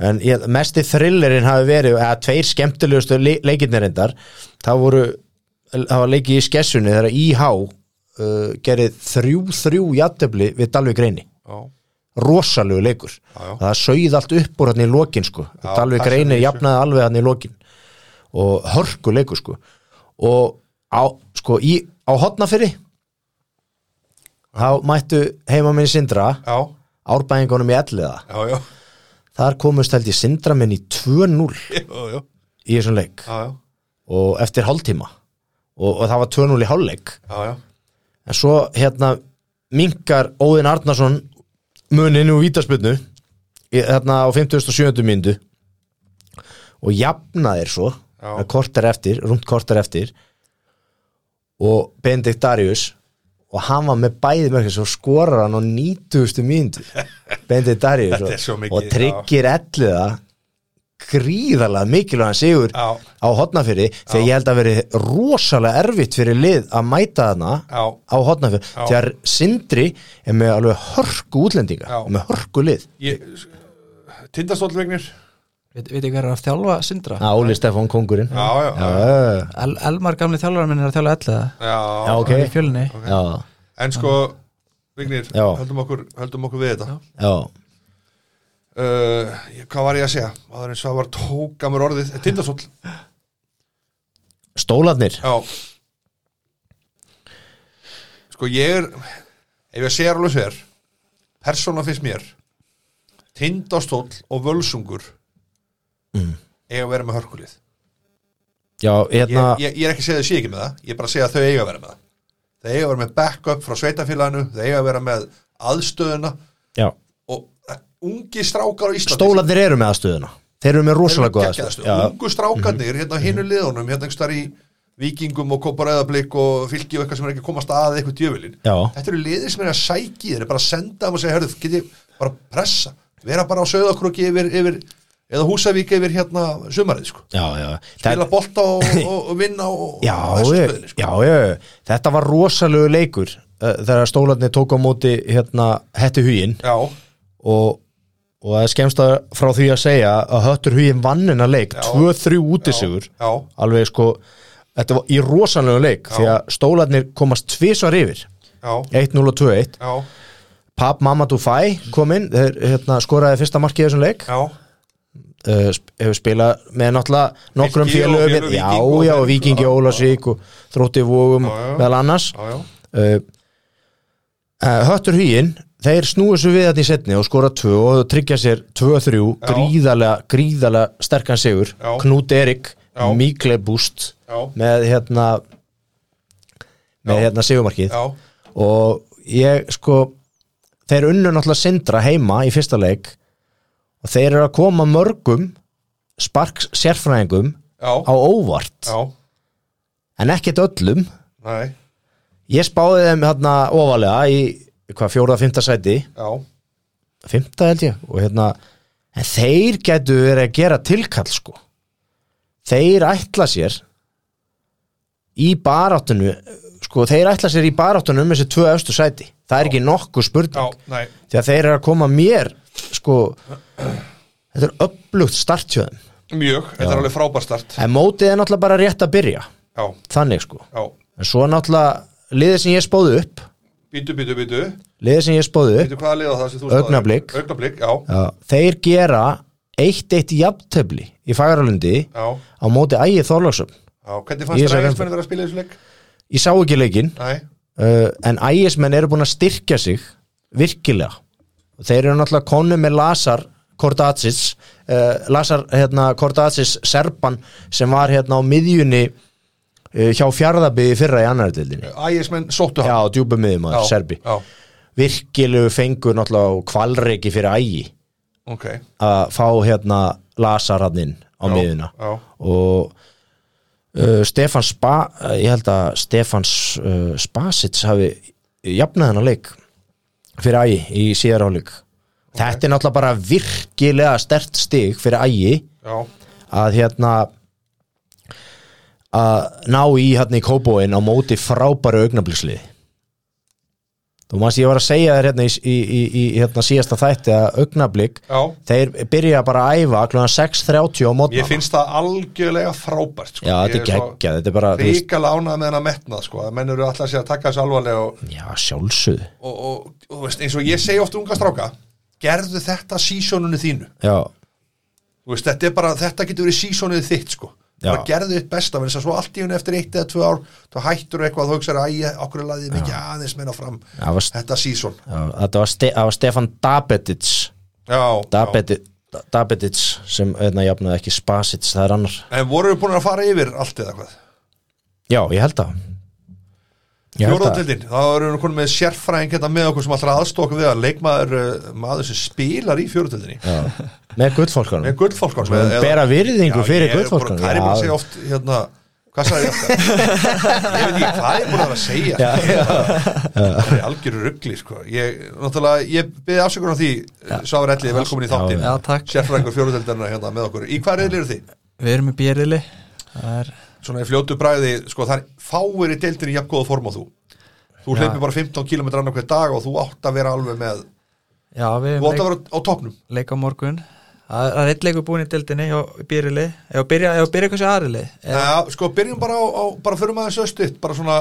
en ég, mesti thrillerinn hafi verið eða tveir skemmtilegustu le leikirnir reyndar það voru það var leikið í skessunni þegar IH uh, gerið þrjú þrjú játtöfli við Dalvik Reyni
Já,
rosalegu leikur
já.
það sauð allt upp úr hann í lokin sko
Já,
Dalvik
passa
Reyni
þessu.
jafnaði alveg hann í lokin og hörku leikur sko og á, sko, í, á hotnafyrir þá mættu heimaminn Sindra
já,
árbæðingunum í elliða
já, já,
þar komust held ég Sindra minn í 2-0
já, já,
í þessum leik
já, já,
og eftir hálftíma og, og það var 2-0 í hálfleik
já, já.
en svo hérna minkar Óðinn Arnarsson munin úr vítaspilnu hérna á 57. myndu og jafnaðir svo
Já.
með kortar eftir, rúmt kortar eftir og Benedikt Darius og hann var með bæði mörgir svo skorar hann á 90. myndu Benedikt Darius
Þetta er svo
og,
mikið,
og tryggir elliða gríðarlega mikilvæðan sigur
Já.
á hotnafyrði þegar ég held að veri rosalega erfitt fyrir lið að mæta þarna
Já.
á hotnafyrð
Já.
þegar Sindri er með alveg hörku útlendinga
Já.
og með hörku lið
Ég, tindastólvegnir
Veit veit ekki hver er að þjálfa Sindra?
að Óli Stefán kongurinn
Já, já, já, já,
já,
El, Elmar gamli þjálfara minn er að þjálfa elliða
já, ok
okay. í fjölni
já,
En sko, Vignir,
Já.
höldum okkur, höldum okkur við þetta
já,
uh, ég- Hvað var ég að segja? Það er eins og það var tóka mér orðið Eh, Tindastól,
stólarnir
já Sko, ég er Ef ég segja alveg sér Persóna finnst mér Tindastól og völsungur mm. Eiga að vera með hörkulið
já,
ég,
hérna,
ég, ég er ekki að segja þau sé ekki með það Ég er bara að segja að þau eiga að vera með það Þau eiga að vera með backup frá sveitafélaginu Þau eiga að vera með aðstöðuna
já
og eh, ungi strákar á Íslandi
stólarnir eru með aðstöðuna þeir eru með
Þeir eru
rosalega góða
geggjaðastur.
aðstöð já, Mhm.
ungu strákarnir hérna á hinu liðunum hérna einhvers þar í vikingum og koparæðablík og fylki og eitthvað sem er ekki að komast að eitthvað djöfilin
Já.
þetta eru liðir sem er að sæki þeir eru bara að senda þeim og segja, hörðu, geti bara pressa vera bara á söðakrúki yfir, yfir eða húsavík yfir hérna sumarið sko.
já, já. Það-
spila bolta og, og, og vinna og,
já,
og
ég,
Vesturbyggðinni, sko.
já, já, þetta var rosalegu leikur uh, þegar stólarnir tók á móti hérna hætti huginn
já,
og, og það er skemmst að frá því að segja að höttur huginn vannina leik 2-3 útisigur
já,
alveg sko, þetta var í rosalegu leik því að stólarnir komast tvisvar yfir
já,
1-0 og 2-1
já,
Pap Mamadou Fai kom inn þeir, hérna, skoraði fyrsta markið í þessum leik
já
uh, sp- hefur spilað með náttúrulega nokkrum
Fylki og
félögum
félög
já,
Víking og-
já, og Vikingi Ólasvík og Þrótti Vógum
Já, já.
meðal annars
já, já,
uh, uh, Höttur Huginn þeir snúið svo við þetta í setni og skora 2 og tryggja sér 2-3
Já.
gríðalega, gríðalega sterkan sigur
Já.
Knút Erik,
Já.
mikle búst
Já.
með hérna með hérna sigumarkið
já,
og ég sko þeir unnu náttúrulega sindra heima í fyrsta leik og þeir eru að koma mörgum sparks sérfræðingum á
já,
óvart
já
en ekkert öllum
nei,
Ég spáði þeim hérna ofalega í hvað fjóra, fymta sæti
já,
fymta held ég og hérna en þeir gætu verið að gera tilkall sko þeir ætla sér í baráttunu sko þeir ætla sér í baráttunu um þessi tvö östu sæti það er ekki nokkuð
já,
spurning
nei
því að þeir eru að koma mér sko þetta er upplugt startjöðum
Mjög, þetta er alveg frábær start
en mótið er náttúrulega bara rétt að byrja
Já,
þannig sko
já,
en svo náttúrulega liðið sem ég spáði upp
býtu, býtu, býtu
liðið sem ég spáði upp
Býtu hvaða liða það sem þú staðir?
Augnablik.
Augnablik, já,
Já, þeir gera eitt eitt jafntefli í Fagralundi
já,
á móti ægið Þorlagsum
já Hvernig
Ég
fannst
sagði
þér ægismenn vera að spila í þessu leik?
ég sá ekki leikin
Nei,
uh, en ægismenn eru búin að styrkja sig virkilega þeir eru náttúrulega konu með Lazar Kordacis uh, Lazar hérna, Kordacis Serban sem var hérna á miðjunni uh, hjá fjárðabyði fyrra í annar dildinni
ægismenn sóttu
já,
hann
djúpa miðjumæður, Serbi
Já,
virkilegu fengur náttúrulega á kvalreiki fyrir ægi
ok
að fá hérna Lazar hann inn á miðjuna
Já,
og uh, Stefan Spa uh, ég held að Stefan S- uh, Spasits hafi jafnað hennar leik fyrir ægi í síðar áleik þetta er náttúrulega bara virkilega stert stig fyrir ægi
já,
að hérna að ná í hérna í kóbóin á móti frábæru augnabliksliði þú manst ég var að segja þér hérna í, í, í, í hérna síðasta þætti að augnablík
Já.
þeir byrja bara að æfa kl. 6.30 á mótna
Ég finnst það algjörlega frábært sko.
Já, þetta er geggja, þetta er bara þú veist,
Ríka lánað með hann að metna sko. að menn eru alltaf sér að taka þessu alvarlega og,
Já, sjálfsög
og, og, og veist, eins og ég segi oft unga stráka gerðu þetta sísónunni þínu
Já,
Þú veist, þetta, er bara, þetta getur verið sísónuð þitt sko.
Já.
bara gerðu þitt besta vegna þess að svo allt í hún eftir eitt eða tvö ár þá hættur eitthvað þú hugsaður að okkur er laðið mikið aðeins meina fram
Já, var-
þetta sísón
já, þetta var, ste, það var Stefan Dabetits
en
Dabeti, Dabetits sem hérna jafnaði ekki Spasits, það er annar
voru við búin að fara yfir allt eða hvað
Já, ég held að Ég held að
Fjóraðildin, þá erum við konum með sérfræðing hérna með okkur sem alltaf aðstóka við að leikmaður uh, maður sem spilar í fjóraðildinni
Já, með gullfólkanum
með gullfólkan
Hún bera virðingu fyrir gullfólkanum
Það er bara að segja oft hérna, hvað sagði ég oft? ég veit ekki hvað ég er búin að vera að segja
Já,
það er algjöru ruggli sko. ég, náttúrulega, ég byrði afsökunar á því Sávar Elli, velkomin í þáttin
Já, takk.
sérfræðingur fjóruðeldarna hérna með okkur í hvað reyðli eru þið?
Við erum í björðili Það er,
svona í fljótu bræði, sko það er fáir í deildinni jafn góða form á þú þú
Já.
hleypir bara 15 km annar hver dag og þú átt að vera alveg með þú
já, við erum
átt að vera á topnum
leik á morgun Það það er eitt leikur búin í dildinni hjá byrjuli Ef byrja, ef byrja kannski aðrili Já,
Eða, sko byrjum bara á, á bara förum aðeins östuð bara svona,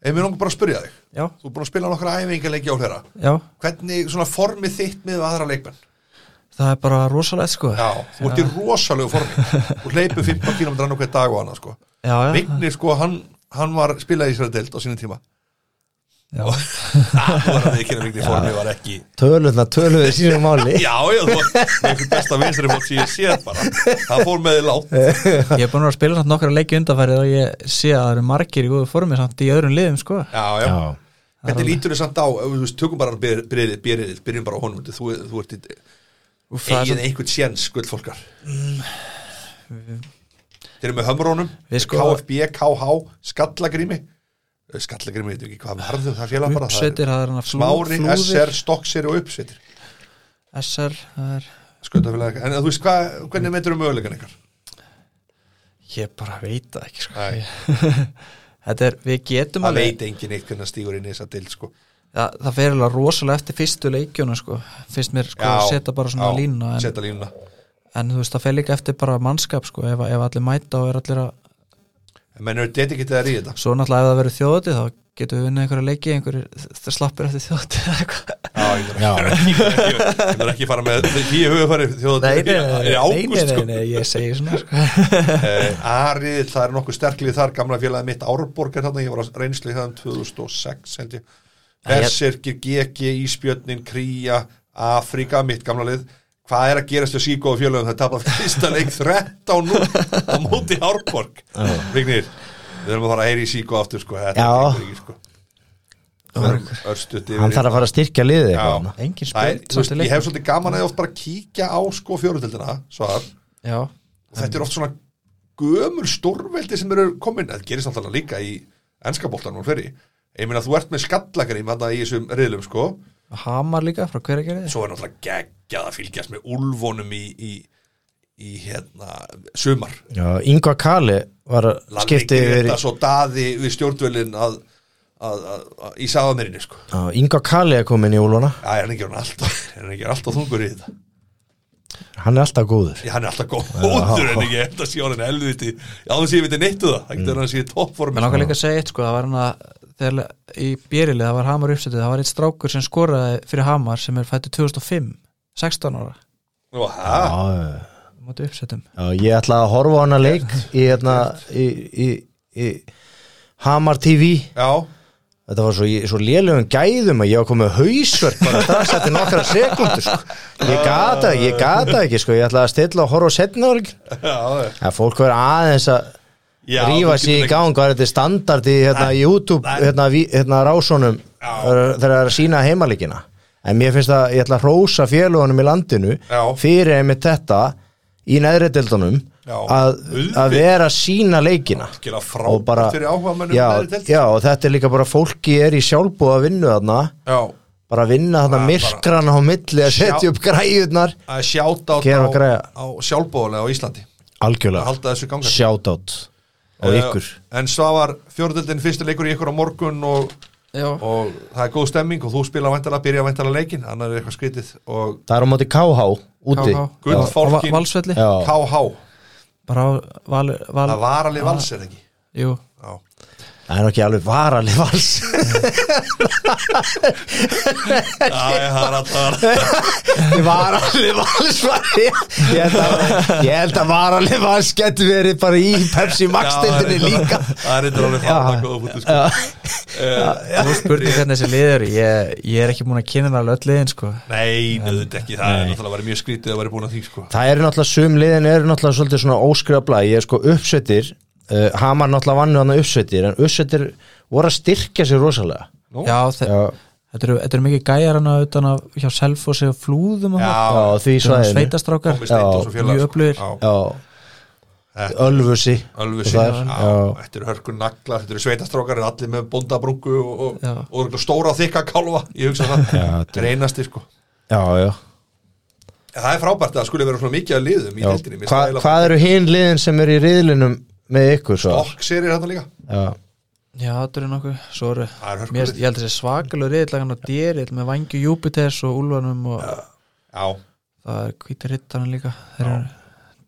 ef mér langar bara að spyrja þig
já,
þú er búin að spila nokkra æfingarleiki á hlera
já
hvernig svona formið þitt með aðra leikmenn
Það er bara rosalegt sko
já, þú ert í rosalegu formi þú hleypur 15 km annar hver dag og annað sko
já, já,
Vignir sko, hann, hann var spilaði í sér deild á sínum tíma
já.
það var að ekki Vignir formið var ekki
Tölutna, töluðu sínum máli
Já, já, þú var einhver besta vinstri fólk sem ég séð bara Það fór með þið látt
Ég er búin að vera að spila samt nokkra leiki undanfærið og ég sé að það eru margir í góðu formi samt í öðrum liðum sko
Já, já,
Já,
Hvernig lítur þið samt á, ef þú veist, tökum bara byrðið, byrðið, byrjum bara á honum Þú, þú ert í,
Úf, það er
eigin
samt,
einhvern séns, gullfólkar Þeir eru með hömrónum
Við sko-
KFB, KH, Skallagrými Eh, Skallagrými, veitum ekki hvað varðu það félag bara það er-
uppsveitir, það er hann að flú,
Smári,
flúðir,
SR, Stokkseri og uppsveitir
SR, það er
Skautafélag, en þú veist hvað, hvernig meiturum mögulegan ykkar?
Ég bara veit það ekki sko
Nei.
Þetta er, við getum
Það
alveg
veit enginn eitt hvernig stígur inn í þessa dild sko
það, það fer alveg rosalega eftir fyrstu leikjuna sko Fyrst mér sko að setja bara svona
já,
línuna en,
setja línuna
en þú veist, það fer líka eftir bara mannskap sko Ef, ef allir mæta og er allir að
En menn eru dedikitaðar í þetta
Svo náttúrulega ef það verður þjóðatið þá getum við unnið einhverja leiki einhverju, það slappir eftir þjóðatið eða eitthvað
Já, ég þarf ekki- ég þarf ekki- ég þarf ekki að fara með því ég hugið farið
Nei,
þjóðatíð
nei,
Það
nei,
er ágúst
nei,
sko
nei, nei, ég segi svona sko.
Eh, Ari, það er nokkuð sterklið þar gamla félagið mitt Árborg er þarna, ég var á reynslu í þaðan 2006 held ég Berserkir, GG, Íspjörnin, Kría Afrika, mitt gamla lið Hvað er að gerast hjá síkóðu félagum það tapar fyrsta leik 13 nú á móti Árborg Vignir, við erum að fara að heyri í síkó aftur sko, þetta
Já.
gengur ekki, sko. Við erum örstutt yfir
hann
í-
þarf að fara að styrkja liðið eitthvað þarna.
Engin
Það er,
spjöld
þú veist, ég hef
samt í leiknum.
svolítið gaman að ég oft bara kíkja á sko fjóruðildina svar,
Já,
og þetta er oft svona gömur stórveldi sem eru komin það gerist náttúrulega líka í enskaboltanum fyrir, ég meina þú ert með skallagrým þarna í þessum riðlum sko
Hamar líka frá hver ekki
svo er náttúrulega geggjað að fylgjast með úlfónum í, í, í hérna, sumar
Já, Ingvar Kali var að
Lalli
skipti yfir
Greta sko. svo daði við stjórnvölin að, að, að, að, í safamirinu sko
Já, Ingvar Kali er komin í úluna
Æ, hann er ekki hann alltaf, hann er ekki alltaf þungur í þetta
Hann er alltaf góður
Já, hann er alltaf góður en ekki eftir að sé orðin helviti Já, þannig sé ég veit neittu það Það getur hann að sé toppform
Mér langar líka að segja eitt sko, það var hann að þegar í Bjerilið, það var Hamar uppsetið það var eitt strákur sem skoraði fyrir Hamar sem er fættu 2005, 16 ára
Já,
Já, já, já.
mútið uppsetum
Já, ég ætla að horfa á hana leik í, hérna, í, í, í Hamar TV
já,
Þetta var svo, svo lélögum gæðum að ég var komið hausverk bara strax eftir nokkra sekundur sko. Ég gata, ég gata ekki sko. Ég ætlaði að stilla og horfa á setnaður
já,
að fólk verið aðeins að
já
rífa
þú
sér í
getur
gang hvað er þetta standard í hérna, YouTube hérna, ví- hérna, rásunum þegar það er að sína heimalíkina en mér finnst að ég ætla að hrósa félugunum í landinu
Já.
fyrir einmitt þetta í neðri dildunum
Já.
að,
Auðvitað.
að vera að sína leikina
algjörlega
og
frábært
bara
fyrir áhuga mönnum
já, já, og þetta er líka bara fólki er í sjálfbúða vinnu þarna
já,
bara að vinna þarna
Bara-
myrkran á milli að
Sjá-
setja upp græjurnar
að sjáta á,
Gera og græja.
á sjálfbóðulega á Íslandi að
algjörlega,
halda þessu ganga
shoutout á ykkur
Eh, En Svavar, fjórdöldin fyrsti leikur í ykkur á morgun og
já,
og það er góð stemming og þú spila væntalega, byrja væntalega leikin annar er eitthvað skrítið og
það er á móti KH úti
KH.
Gull
Já,
fálkinn.
á Va- Valsvelli,
Já.
KH,
bara á val, val,
það var alveg vals er ekki
jú,
Já.
það er nú ekki alveg varalið vals
Æ, það er alltaf
varalið vals var ég ég held að- ég held að varalið vals getur verið bara í Pepsi Max stendinni líka
það er eitthvað alveg það er góð bútið sko.
Já.
Eh,
þú spurning
hérna-
hvernig þessi liður ég, ég er ekki múin að kynna mér alveg öll liðin sko.
nei, auðvitað ekki það er náttúrulega verið mjög skrítið að verið búin að því sko.
Það eru náttúrulega sum liðin eru náttúrulega svolítið svona óskrifabla ég er sko uppsettir uh, Hamar náttúrulega vannu hann uppsettir en uppsettir voru að styrkja sér rosalega
Nú?
já, þe-
Já,
þetta eru, þetta eru mikið gæjar hana utan af hjá Selfossi og Flúðum og
já,
það.
já því
Þetta eru
svæðinu
sveitastrákar
komið steint og svo félag
mjög öflugir.
sko.
Já
Þetta-
Ölfusi
Ölfu
Og
síðar,
þar,
já,
já.
þetta eru hörkur nagla, þetta eru sveitastrókar, allir með bondabrúku og, og,
Já.
og örugglega stóra þykka kálfa, ég hugsa það, þetta er einasti sko.
Já, já
En Það er frábært að það skulle vera svona mikið að liðum í
Já,
deildinni, mér
hva,
finnst það eiginlega-
hvað eru hinn liðin sem eru í riðlinum með ykkur svo?
Okk serir þetta líka
Já,
já, þetta eru nokkuð, svo eru
Það er hörkulið.
Mér, ég held að þessi svakalur riðlagan og dýrill með vangju Júpiters og Úlvanum og
Já,
það er hvíti rittarinn líka þeir eru,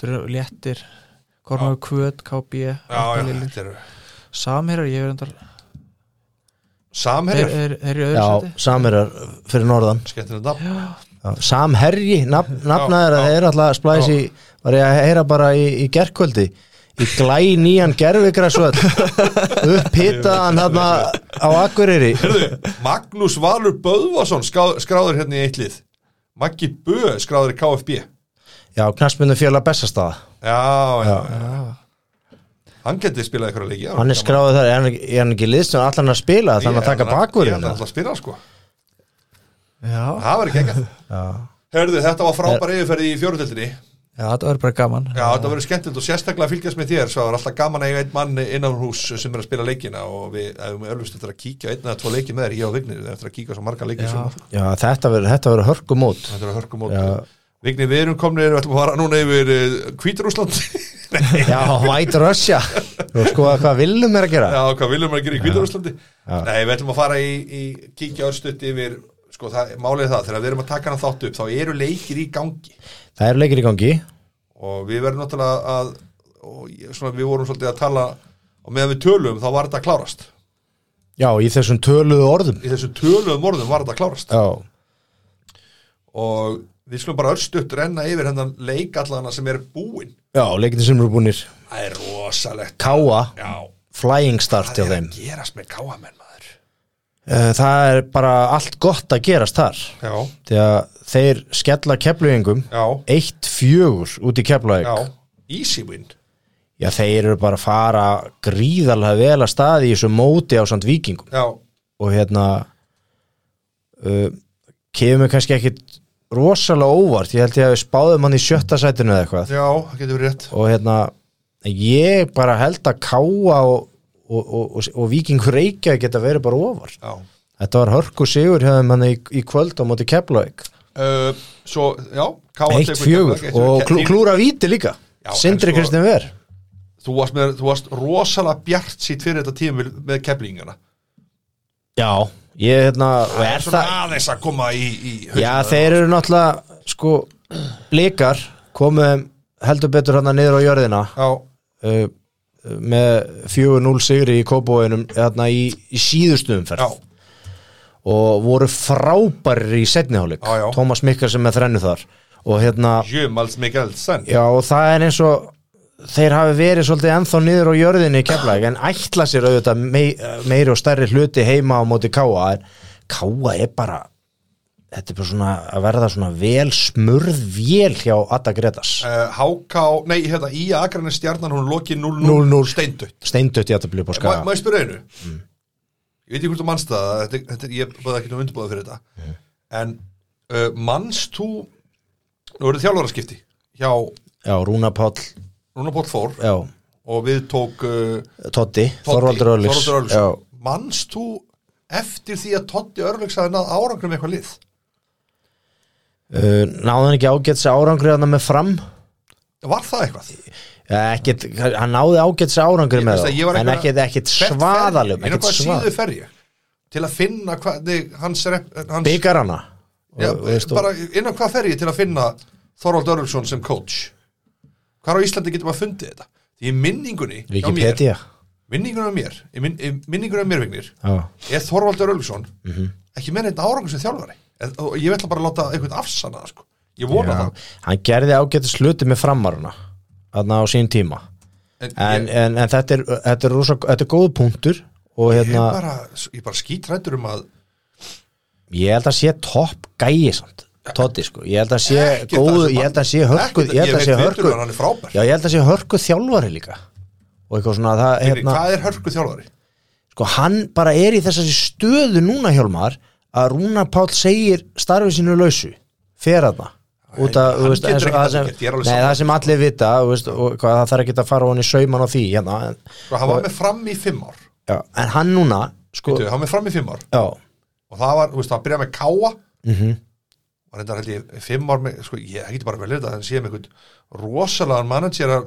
þeir eru léttir Kormáðu Kvöt, KB
já, já,
Liljur.
þetta eru
Samherjar, ég er endar þeir,
Samherjar,
þeir, þeir eru í öðru
já
seti
samherjar fyrir norðan
skemmtilegt nafn
Já, Samherji, nafn, nafnaður að
já.
þeir eru alltaf splæs í var ég að heyra bara í, í gerkvöldi í glæ nýjan gerfigrasvöld upphitaðan þarna á Akureyri
Herðu, Magnús Valur Böðvason skrá- skráður hérna í eitt lið Maggi Bö skráður í KFB
já, knastmyndu fjöla bestastaða
Já, já, já Hann geti spilað ykkur að leiki já,
hann er
gaman.
skráðið þar, er hann, ekki- er hann ekki liðstun allan að spila, þannig að
Ég-
taka hérna?
hann- Ég
bakurinn
hann alltaf að spila sko
já.
Það verður geggjað Herðu, þetta var
Eh.
frábær yfirferði í fjóruðildinni
já, þetta verður bara gaman
Já, þetta verður skemmtilegt og sérstaklega að fylgjast með þér svo það er alltaf gaman að eiga einn mann innan hús sem er að spila leikina og við hefum öllust eftir að kíkja á einn eða tvo leiki með þér, ég og Vignir við erum eftir að kíkja á svo marga leiki
Já.
sem
já, þetta verður þetta verður hörkumót
þetta er að hörkum og
Já.
Vignir, við erum komnir, við ætlum að fara núna yfir eh, Kvíturúsland Já,
já, White Russia og sko að hvað villum er að gera
hvað viljum við að gera í Kvíturúslandi
Já.
Nei, við ætlum að fara í, í kíkja örstutt yfir, sko, það, málið er það þegar við erum að taka hana þátt upp, þá eru leikir í gangi
það eru leikir í gangi
og við verðum náttúrulega að og ég- svona, við vorum svolítið að tala og meðan við tölum þá var þetta að klárast
já, í þessum töluðu orðum
í þessum töluðum orðum var þetta að klárast
já,
og við skulum bara örstutt renna yfir hennan leikallana sem er búinn
já leikir sem eru búinir
það er rosalegt
káa,
já,
flying start
það
hjá
er
þeim
að gerast með káamenn maður
Eh, það er bara allt gott að gerast þar
já,
því að þeir skella keflugingum
já,
eitt fjögur út í keflaug
já, easy win
já þeir eru bara að fara gríðarlega vel að staði í þessu móti á samt vikingum
já,
og hérna uh, kemur kannski ekkit rosalega óvart, ég held ég að við spáðum hann í sjötta sætinu eða eitthvað
já, það getur verið rétt
og hérna ég bara held að káa og, og, og, og, og vikingur reykja geta verið bara óvart
já,
þetta var hörku sigur hjá þeim hann í, í kvöld á móti keflaug
uh, svo, já Káa
Eitt
tekur
fjögur
Keflavík, eitt
og
fjögur.
klú, klúra víti líka
Já,
Sindri
en sko-
Kristinn Ver
þú varst, með, þú varst rosalega bjart sýtt fyrir þetta tíma með keflingana
Já, ég hérna
það
er
er svona
það,
aðeins að koma í, í hausinn
Já,
á þeim.
þeir eru náttúrulega sko blikar komuðum heldur betur hann niður á jörðina
já,
uh, með 4-0 sigri í kópóinum hérna í, í síðustu
já,
umferð og voru frábærir í setniháleik
Já, já.
Tómas Mikkar sem er þrennu þar og hérna
Jömals Mikkelsen
Já og það er eins og þeir hafi verið svolítið ennþá niður á jörðinni í keflæk en ætla sér auðvitað mei, meiri og stærri hluti heima á móti káa en káa er bara þetta er bara svona að verða svona vel smurð vél hjá Adda Gretas
uh, HK, nei hérna í Akranes stjarnan hún lokið 0-0
0-0.
steindutt
steindött í Attablið på
Má má
skaga
ég spyrja einu?
Mm.
Ég veit ekki hvort þú manst það þetta, er- þetta, er- Ég bæði ekki nú undirbúða fyrir þetta En uh, manst þú Nú eru þjálfaraskipti Hjá
Já, Rúna Páll,
Rúna Póll Þór
já,
Og við tók uh,
Totti,
Toddi,
Þorvaldur Ölis
Þorvaldur Örlygs.
Já,
Manst þú eftir því að Totti Örlöks hafði náð árangrum með eitthvað lið
uh, náði hann ekki ágætsi árangri hann með fram
Var það eitthvað?
Já, ekkit, hann náði ágætsi árangri
Ég
með
veist að ég var
þá en
eitthvað-
ekkit, ekkit
Hvert fer ég? Ég
svaðalum
er
ekkit
eitthvað
svaðalum
síðu ferja til að finna hvernig hans, rep, hans
byggar hana
já,
Og, veist, og-
bara innan hvað fer ég til að finna Þorvald Örlsson sem coach hvar á Íslandi getur maður fundið þetta því í minningunni hjá mér,
Wikipedia
minningunni á mér í min- í minningunni á mér vignir
Já.
er Þorvald Örlsson
Mhm.
ekki meira einn árangur sem þjálfari En- og ég ætla bara að láta einhvern afsanna það, sko. ég vona
Já.
það
hann gerði ágættu sluti með framaruna þarna á sín tíma
en,
en,
ég,
en, en þetta er, þetta er, rosa, þetta er góð punktur og
ég,
hérna,
bara, ég bara skítrættur um að
ég held að sé topp gæi samt, Totti sko ég held að sé
Ekkert að
góð,
þessi
ég
mann-
held að sé hörku
Ekkert-
ég held að
veit
sé
betur
hörku
en hann er frábær
já, ég held að sé hörku þjálfari líka og eitthvað svona það,
hérna,
hérna,
hvað er hörku þjálfari?
sko hann bara er í þessari stöðu núna hjálmar að Rúna Páll segir starfið sínu lausu fer að það út af,
hann
þú veist,
getur
eins og
ekkert
það
að
sem,
gera, ég er alveg
nei,
sammála.
það sem allir vita þú veist, og hvað, það þarf ekki að fara á hann í sauman á því hérna, en,
Sko, hann var með fram í fimm ár
já, en hann núna sko,
Veitu, hann var með fram í fimm ár
já,
og það var, þú veist, það byrjaði með káa mm
Mhm.
-hmm. og reyndar held ég fimm ár með, sko, ég geti bara velið þetta en síðan með einhvern rosalagan managerar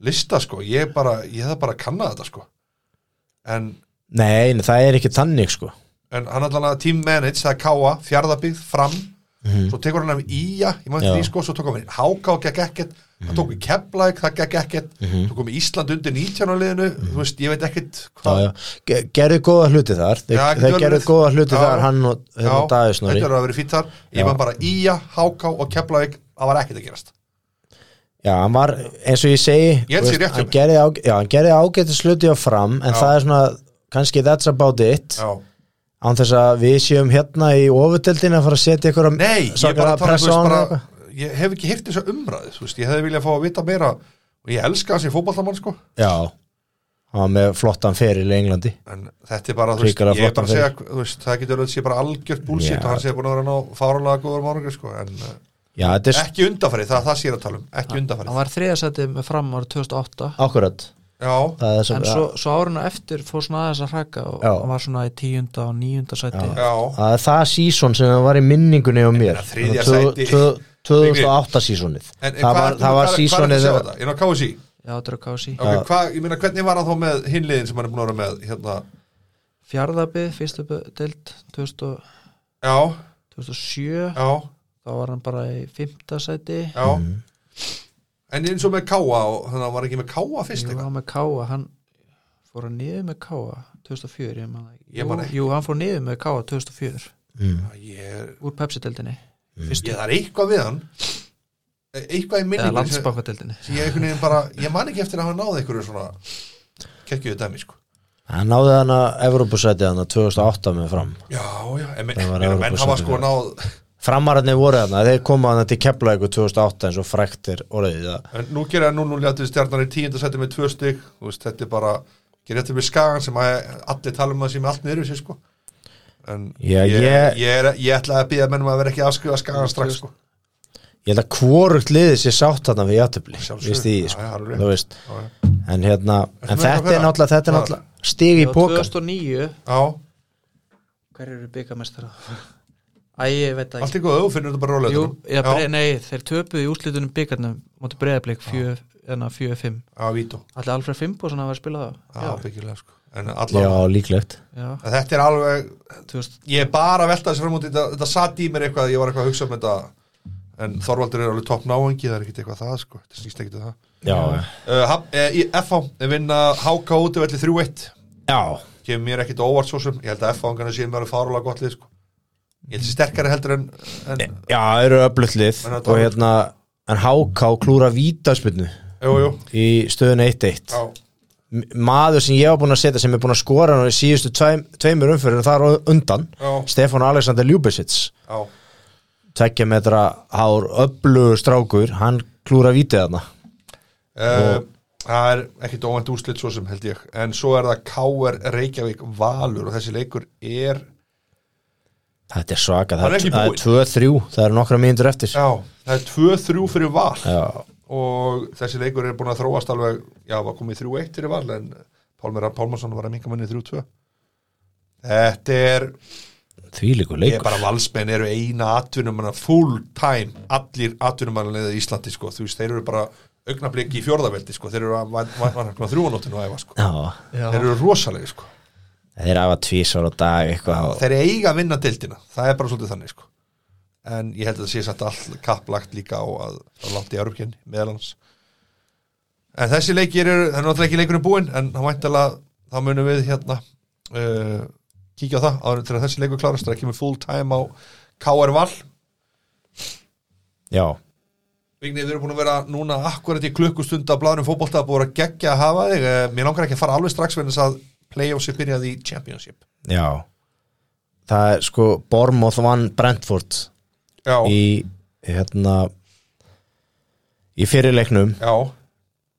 lista, sko, ég bara ég hefði bara að kanna þetta, sko en,
nei, nei, það er ekki þannig sko,
en hann allan að team manage, það er káa, fjárðabíð, fram svo tekur hann af ía, ég maður
Mhm. Já. Mhm.
því, sko svo tók hann með háká, gekk ekkert hann tók við Keflæk, það gekk ekkert tók hann með Ísland undir 19 á liðinu þú veist, ég veit ekkert
Mhm. já,
hvað
já Ge- gerðu góða hluti þar, þeir,
Já, getur
þeir
vel
gerðu
verið.
góða hluti
Já,
þar hann og
Já,
hérna Davíð Snorri
þetta er að vera fýtt þar
Já.
ég maður bara ía, háká og Keflæk það var ekkert að gerast
Já, hann var, eins og ég segi
Ég held sé
þú veist,
rétt hjá
hann,
mér.
gerði á, já, hann gerði ágættu sluti á fram en
Já.
það er svona, kannski that's about it
Já.
án þess að við séum hérna í ofuteldin að fara að setja ykkur
Nei, ég bara tala
að
þú veist
pressa á hann eða
bara
eitthvað.
ég hef ekki hirt þessu umræðu þú veist, ég hefði viljað fá að vita meira og ég elska hans í fótballamann sko
Já, hann var með flottan feril í Englandi
en þetta er bara, þú veist,
Hrikalega
ég er bara
flottan
að segja þú veist, það getur auðvitað sé bara algjört búlsitt
Já.
og hann sé búin að vera ná fárulega góður mánungur sko, en uh,
Já, þetta er
ekki undanfarið, það, það sé ég er að tala um ekki
hann
undanfarið,
var þriðasætið með fram ára 2008
akkurat
já,
Það er sem,
en svo, svo áruna eftir fór svona aðeins að hrækka og
Já.
hann var svona í tíunda og níunda sæti
já
að það sísón sem það var í minningunni á mér
meina, þriðja
Tvö-
sæti.
tvö- 2008 sísónið
En, en
það
hvað
var,
ertu- hvað-
það var
Hvað er það
sísónið
að sjá þetta? Inn á KSI?
já, þetta eru kási
Ok, hvað, ég meina, hvernig var hann þá með hinliðin sem hann er búin að vera með, hérna,
fjárðabið, fyrstu be- deild 2000 og-
já,
2007
já,
þá var hann bara í fymta sæti
já
Mhm.
En eins og með Káa, og, þannig að hann var ekki með Káa fyrst
jú,
eitthvað?
hann með káa, hann fór hann niður með káa 2004, ég man það ekki.
Ég man
jú,
ekki.
jú, hann fór niður með káa 2004
Mm.
Ég, er-
úr Pepsi-deildinni
Mhm.
ég það er eitthvað við hann e- eitthvað í
eða
minningu sem,
landsbankadeildinni
sem ég einhvern veginn bara ég man ekki eftir að hann náði einhverju svona kekkjuðu dæmi sko
hann náði hann að Evrópusætið hann 2008 með fram
já, já, en men,
Það var
menn,
Evrópusæti,
menn hafa sko
já.
náð
framararnir voru þarna, þeir koma þarna til Keflavíkur 2008 eins og fræktir orðið það
en nú gera nú nú ljáttið stjarnar í tíunda sæti með tvö stygg þú veist, þetta er bara gera þetta með skagan sem að allir tala um að sé með allt niður sér sko en
Já,
ég,
ég-
ég, er, ég ætla að býða mennum að vera ekki að afskrifa skagan strax sko
ég held að hvorugt liðið sé sátt þarna við játtöfli
Sjálfsögðu.
veist því,
Já,
sko,
já, alveg.
þú veist
já, já.
en hérna,
Ertu
en
með eitthvað
þetta er
fleira?
náttúrulega þetta er
Já.
náttúrulega stig í
Já,
pókan
2009
já,
hver eru byggamestara æ, ég veit það ekki
allt í góðu, þú finnur þetta bara rólega
Jú,
já,
já, bre, nei, þeir töpuðu í úslitunum byggarnum móti hérna, breyðablík 4-5
já, vító,
Allir Alfred Fimboðsson að vera að spila það
já, byggilega sko en
já,
allavega,
líklegt
Já,
þetta er alveg
þú veist,
ég er bara að velta þessu fram út í þetta, þetta satt í mér eitthvað, ég var eitthvað að hugsa um þetta en Þorvaldur er alveg topp náengi það er ekkit eitthvað það sko, þetta snýst ekkit um það
já,
uh, Haf- eh, í FH vinna HK út af allir 3-1
já,
kemur mér ekkit á óvart svo sem, ég held að FH angana séu mér alveg fárulega gott lið sko ég held að sé sterkari heldur en, en
já, eru öflutlið
En þetta
og
var-
hérna, en HK klúra vítaspinnu
jú, jú,
í stöðun 1-1
já,
M- maður sem ég var búin að setja sem er búin að skora nú í síðustu tveim, tveimur umfyrir þar á undan,
já,
Stefán Alexander Ljúbisits
já
tekja metra hár öflugur strákur, hann klúra vítið þarna
uh, það er ekkit óvænt úslit svo sem held ég en svo er það KR Reykjavík Valur og þessi leikur er
Þetta er svaka,
Hann
það,
er
er-
ekki
það
búinn.
er 2-3 það eru nokkra mínútur eftir
já, það er 2-3 fyrir Val
Já,
og þessi leikur er búin að þróast alveg, já, var komið í 3-1 fyrir val en Pálmir Arn Pálmarsson var að minka munni í 3-2 Þetta er,
því
ég
líkur
er
leikur
bara valsmenn eru eina atvinnumanna full time allir atvinnumanna í Íslandi sko, þú veist, þeir eru bara augnablik í fjórðaveldi sko, þeir eru að var hann þrjúanóttinu að æfa sko,
Já,
já,
þeir eru rosalegi sko
þeir hafa tvísar á dag eitthvað og
þeir eiga að vinna dildina það er bara svolítið þannig sko en ég held að það sé satt all kapplagt líka á að, að langt í Európkinn meðal hans en þessi leikir eru það er náttúrulega ekki leikurinn búinn en það væntalega þá munum við hérna uh, kíkja á það áður en til að þessi leikur klárast það kemur full time á KR Val
já,
Vignið, við erum búin að vera núna akkurat í klukkustund af bláðurum fótbolta að búin að gegja að hafa þig Eh, mér langar ekki að fara alveg strax verðins að playoffs er byrjað í championship
já það er sko Bormoth vann Brentford
já,
í hérna í fyrirleiknum
já,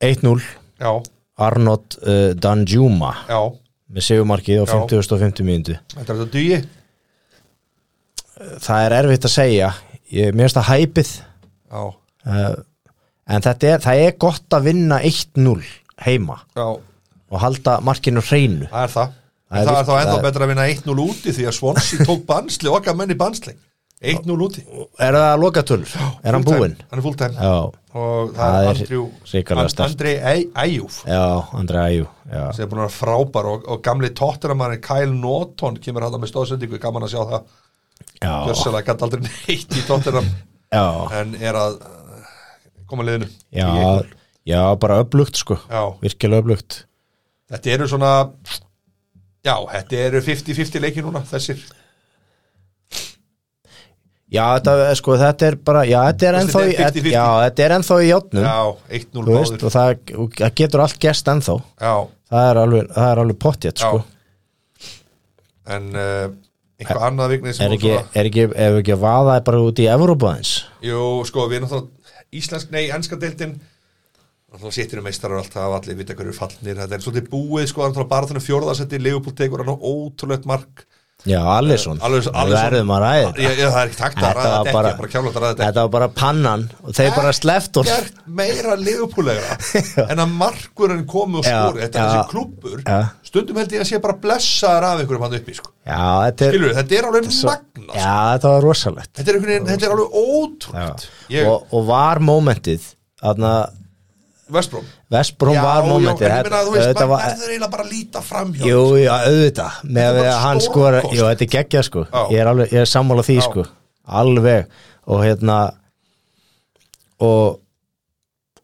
1-0
já,
Arnold uh, Danjuma
já
með segumarkið á
Já.
50 og 50 mínútu
Þetta er þetta dugi
það er erfitt að segja ég mér finnst það hæpið
Já,
uh, en þetta er, það er gott að vinna 1-0 heima
já,
og halda markinu hreinu
það er það
Það er
Það, það er
virk-
þá ennþá
það er-
betra að vinna 1-0 úti því að Swansea tók bansli okkar menn í bansli 1-0 úti
er það lokatölur? er hann
Fulltime.
búinn?
Hann er full time
já,
og það,
Það er
er Andrew,
hrikalega
And-
sterkt.
Andrei Æ- Æjúf
já, Andra Æjú já.
sem er búin að vera frábær og, og gamli tóttunamann Kyle Norton kemur hann með stóðsendingu gaman að sjá það
já,
Gjössalega gæti aldrei neitt í tóttunam
já,
en er að uh, koma liðinu í
já,
einhver.
já bara öflugt sko,
já,
virkilega öflugt
þetta eru svona já, þetta eru 50-50 leiki núna þessir,
Já, þetta, er, sko, þetta er bara Já, þetta er
Þú veist,
ennþá í,
þetta er 50-50.
já, þetta er ennþá í játnum
já, 1-0
Þú veist,
báður,
og það, og það getur allt gerst ennþá
já,
Það er alveg, það er alveg pottjætt,
já
sko
en uh, eitthvað annað vignið sem
Er
voru
ekki,
svona-
er ekki, ef ekki að vaða er bara út í Evrópa eins
jú, sko, við erum þá íslensk, nei, enska deildin þá sittir um meistarar og allt það allir vita hverju fallnir, þetta er svolítið búið sko, þannig að bara þannig fjórðarsetti, Leopold tekur hann á ótrúlegt mark
Já, Alisson,
Eh, Alisson-
Við
Alisson-
verðum að ræða
ég,
þetta
ég, það er ekki takt að
Þetta
ræða
var
þetta
bara-
ekki, bara kjálótt að ræða þetta
Þetta var bara pannan og þeir bara sleft og
gert meira liðupúlegra en að markurinn komi og
Já,
skori þetta er
já.
þessi klúppur
Já.
stundum held ég að sé bara blessaðar af einhverjum hann uppi sko.
Já, þetta er
Skilurðu, þetta er alveg
svo-
magna
Já, þetta var rosalegt
þetta, er einhvern veginn- þetta er alveg
Já.
ótrúnt ég,
og, og var momentið Þarna,
Vestbróm
Vestbróm var momentið
en ég meina að þú veist,
þetta
maður
var-
verður eiginlega bara að líta fram hjá
Jú, jú, auðvitað með
Þetta er
að
bara
hann skora
stórkostlegt.
Jú, þetta er geggja sko
Já.
ég er, alveg, ég er sammála því
Já.
sko Alveg Og hérna Og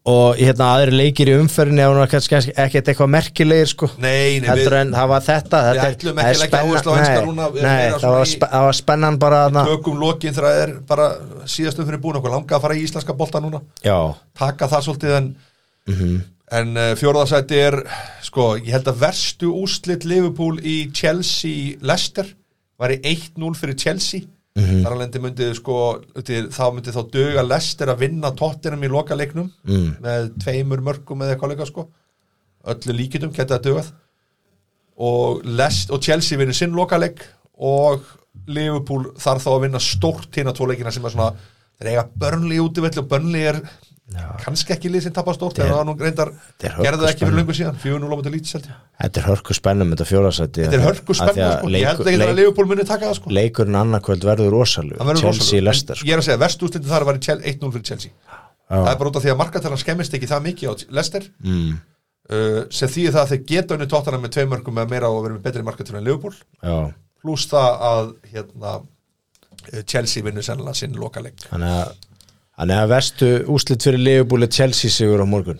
Og hérna aðri leikir í umferðinni Það var kannski kannski ekkert eitthvað merkilegir sko
nei, nei, við
Heldur en það var þetta
við
Þetta er-
ætlum
það
ekki
er
að leggja
spennan-
áherslu á enska
nei,
núna, við erum
Nei,
meira
það
svona
var
í-
spe- það var spennan bara þarna
tökum lokin þegar það er bara síðastum fyrir búin okkur langa að fara í íslenska bolta núna
Já,
taka það svolítið en en uh, fjóraðarsæti er sko, ég held að verstu úslit Liverpool í Chelsea Leicester væri 1-0 fyrir Chelsea
Mhm.
þar alveg myndi myndið sko til, þá myndi þá döga Leicester að vinna tottenum í lokaleiknum
Mm.
með tveimur mörgum eða eitthvað leika sko öllu líkitum geta það dögað og, Leicester, og Chelsea vinnur sinn lokaleik og Liverpool þarf þá að vinna stórt hérna tóleikina sem er svona þeir eiga börnli útivill og börnli er kannski ekki lið sem tapar stórt en það var nú reyndar
þetta er
gerðu það ekki
hörkuspenna.
fyrir löngu síðan 4-0 á móti lítið seldi
þetta er hörku spennum Þetta fjólasæti
þetta er hörku spenna sko. ég held ekki að Liverpool muni taka það sko
Leikurinn annarkvöld verður rosalug
Það verður
Chelsea sko.
rosalegur.
Lester
En ég er að segja, vestúslindi þar var í Chel- 1-0 fyrir Chelsea það er bara út af því að markatellan skemmist ekki það mikið á Leicester
mm,
uh, sem þýðir það að þeir geta unni tóttana með tvei mörgum með meira og verið með betri markatellan en Liverpool
Já
pluss það að hérna, eh, Chelsea vinnur sennilega sinn lokaleg
Þannig að, þannig að verstu úslit fyrir Leifubúli Chelsea sigur á morgun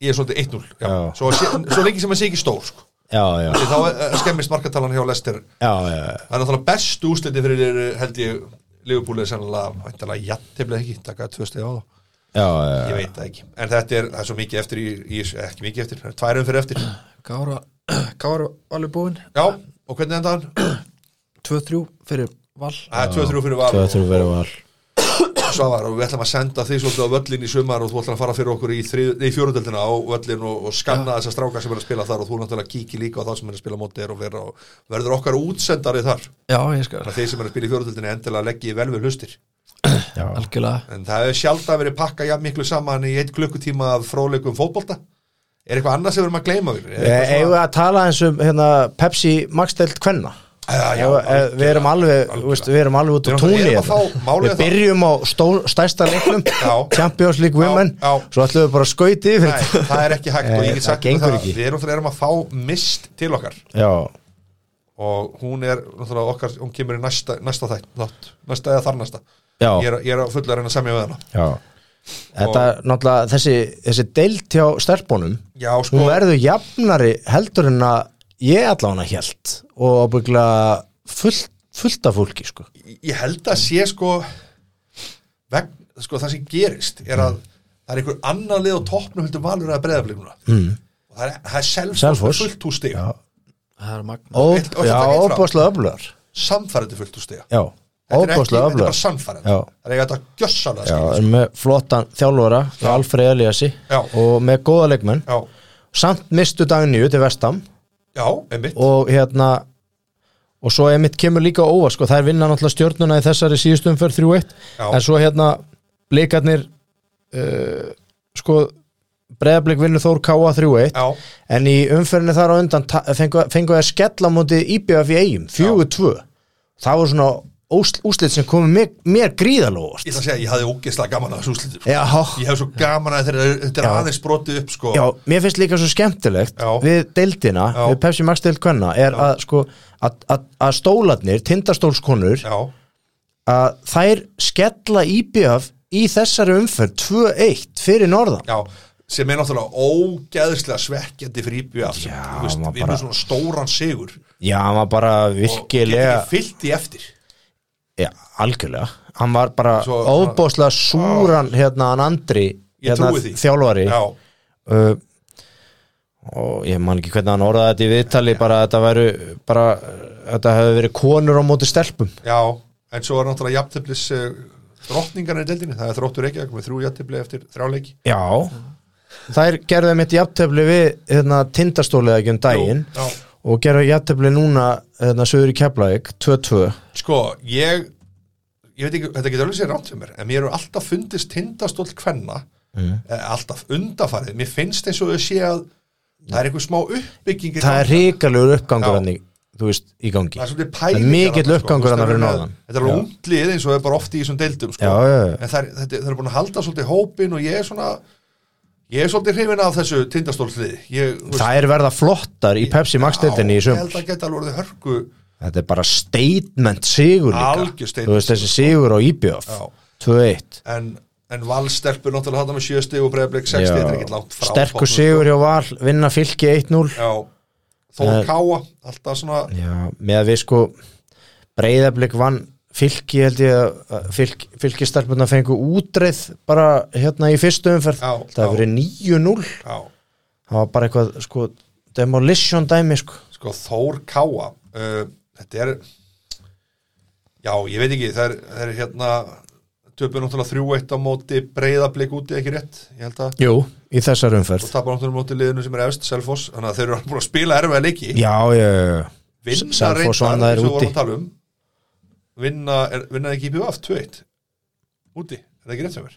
ég er svolítið 1-0 já.
Já.
svo, sé- svo lengi sem að sé ekki stór sko.
Já, já,
Því þá eh, skemmist markatalan hjá Leicester
já, já, já.
það er náttúrulega bestu úsliti fyrir eh, held ég Liverpool er sennilega væntanlega jafnteflið ekki, taka tvö stegi á það
já, já,
ég
já.
veit það ekki, en þetta er, það er svo mikið eftir í, í, ekki mikið eftir, það er tværum fyrir eftir já,
Gára, Gára alveg búinn
og hvernig enda hann?
2-3 fyrir val
Það er 2-3 fyrir val
Tvö
og,
þurfum verið val
Svavar og við ætlum að senda þig svolítið á völlin í sumar og þú ætlum að fara fyrir okkur í, þrið- nei, í fjórundöldina á völlin og, og skanna þessa stráka sem er að spila þar og þú náttúrulega kíkir líka á það sem er að spila móti þér og, vera, og verður okkar útsendari þar
Já, ég skal
þannig að þeir sem er að spila í fjórundöldina endilega leggi vel við hlustir
Já,
Algjörlega
en það hefur sjálfdæð verið pakkað jafn miklu saman í eitt klukkutíma af fróleikum fótbolta er eitthvað annað sem við erum að gleyma við?
Eh, Eigum við að tala eins um hérna, Pepsi Maxdelt Kvenna
Ah, Já,
Ef- ef- Við erum alveg,
algjörlega.
veist, við erum alveg út á
Við erum-
túnni
við erum að
hérna.
fá- málið
Við
er það-
byrjum á stór, stærsta leiknum
Já.
Champions League
Já,
Women
já.
Svo ætlum við bara að skauti yfir
Nei,
þetta.
það er ekki hægt og
Eh,
ég get
það
sagt ykkur
gengur
það,
ekki.
við erum, erum að fá mist til okkar
Já,
og hún er, náttúrulega okkar, hún kemur í næsta, næsta þætt, nátt, næsta eða þar næsta
Já.
ég er, ég er að fulla að reyna að semja við hana
Já. Þetta er náttúrulega þessi, þessi deilt hjá stelpunum
já, sko,
hún verður jafnari heldur en að ég allan að hjælt og ábyggla fullt, fullt af fólki sko.
ég held að sé sko, veg, sko það sem gerist er
Mm.
að það er einhver annar lið á toppnum heldur valur að breyða blíknuna mm. og það er, það er
Selfoss.
selfoss fullt úr stiga
það er magna
Ó,
Eitt- og
Já,
þetta er eitt frá.
óbúðslega öflugar
samfærandi fullt úr stiga
Já,
þetta er ekki,
óbúðslega
þetta er
öflugar
bara samfærandi
Já.
það er eiga þetta gjössalega
Já,
skilur.
er með flottan þjálfara Alfred Eliassi
Já.
og með góða leikmenn
já,
samt mistu Dagníu til Vestam
já, einmitt
og hérna og svo einmitt kemur líka óva sko, það er vinna náttúrulega stjórnuna í þessari síðustum fyrir 3-1
Já.
en svo hérna blikarnir uh, sko breðablik vinnur Þór Káa 3-1
já,
en í umferðinni þar á undan ta- fengu, fengu að skella á móti IBF í eigum 4-2 það voru svona úsl- úslit sem komi mér, mér
ég
gríðalóvast
ætla að segja að ég hafði ógeðslega gaman að þessu úslitum sko.
já,
ég hef svo gaman að þeirra þetta er
Já.
aðeins brotið upp sko
já, mér finnst líka svo skemmtilegt
Já.
við deildina,
Já.
við Pepsi Max deild kvenna er að sko að, að, að stólarnir, tindastólskonur
já,
að þær skella IBF í þessari umferð 2-1 fyrir norðan
já sem er náttúrulega ógeðslega svekkjandi fyrir IBF sem,
Já,
þú veist,
maður
við erum
bara-
svona stóran sigur
já, hann var bara
og getur
virkilega
ekki fyllt í eftir
já, algjörlega, hann var bara
Svo-
óbóðslega súran hérna hann Andri,
Ég
hérna
trúi því.
þjálfari
já,
uh, og ég man ekki hvernig hann orðaði þetta í viðtali bara að þetta væru bara, uh, þetta hefði verið konur á móti stelpum
já, en svo er náttúrulega jafnteflis uh, drottningarna í deildinni það er þróttur ekki, með þrjú jafntefli eftir þráleiki
já þær gerðu mitt jafntefli við hérna, tindastóliða ekki um daginn
Jú, já.
og gerðu jafntefli núna hérna, sögur í Keflavík 2-2
sko, ég ég veit ekki, þetta getur alveg sér rámt fyrir mér en mér eru alltaf fundist tindastóll kvenna mm. alltaf undafarið mér finnst eins og þau sé að það er einhver smá uppbygging í
það er
gangi.
ríkalegur uppgangur
Já.
hann í, þú veist, í gangi
það er svolítið
Það
pæling sko.
er mikill uppgangur þarna fyrir norðan.
þetta er
Já.
unglið eins og það er bara oft í þessum deildum sko.
Já, já, já.
en það er, þetta, það er búin að halda svolítið hópin og ég er svona ég er svolítið hrifin af þessu tindastólsliði ég, þú veist,
það er verða flottar í Pepsi Max deildinni í
ég held
sumar
að geta alveg orðið hörku
þetta er bara statement sigur líka
Algjör statement
þú veist þessi sigur á E IBF
Já.
2-1
en, en valstelpur náttúrulega hátta með 7 stig og breyðblik 6 stig, þetta er ekki langt frá
sterkur
toppnum, sko.
sigur hjá Val vinna fylki 1-0
Já,
Það
Þór
er-
Káa alltaf svona,
Já, með að við sko breyðablik vann fylki held ég að fylk, fylkistarpuna fengu útreið bara hérna í fyrstu umferð
Já,
það
já.
hefur verið 9-0
já,
það var bara eitthvað sko demolition dæmi sko
sko Þór Káa uh, þetta er já, ég veit ekki það er, það er hérna töpur náttúrulega 3-1 á móti breyðablík úti, ekki rétt, ég held að
Jú, í þessar umferð
og tapar náttúrulega á móti liðinu sem er efst, Selfoss þannig að þeir eru búin að spila erfið leiki
Já, já, já, já
vinna
Selfoss vann
reyndar,
þær
eins og við
úti.
vorum að tala um vinna, er, vinna ekki í BVF 2-1 úti, er það ekki rétt sem er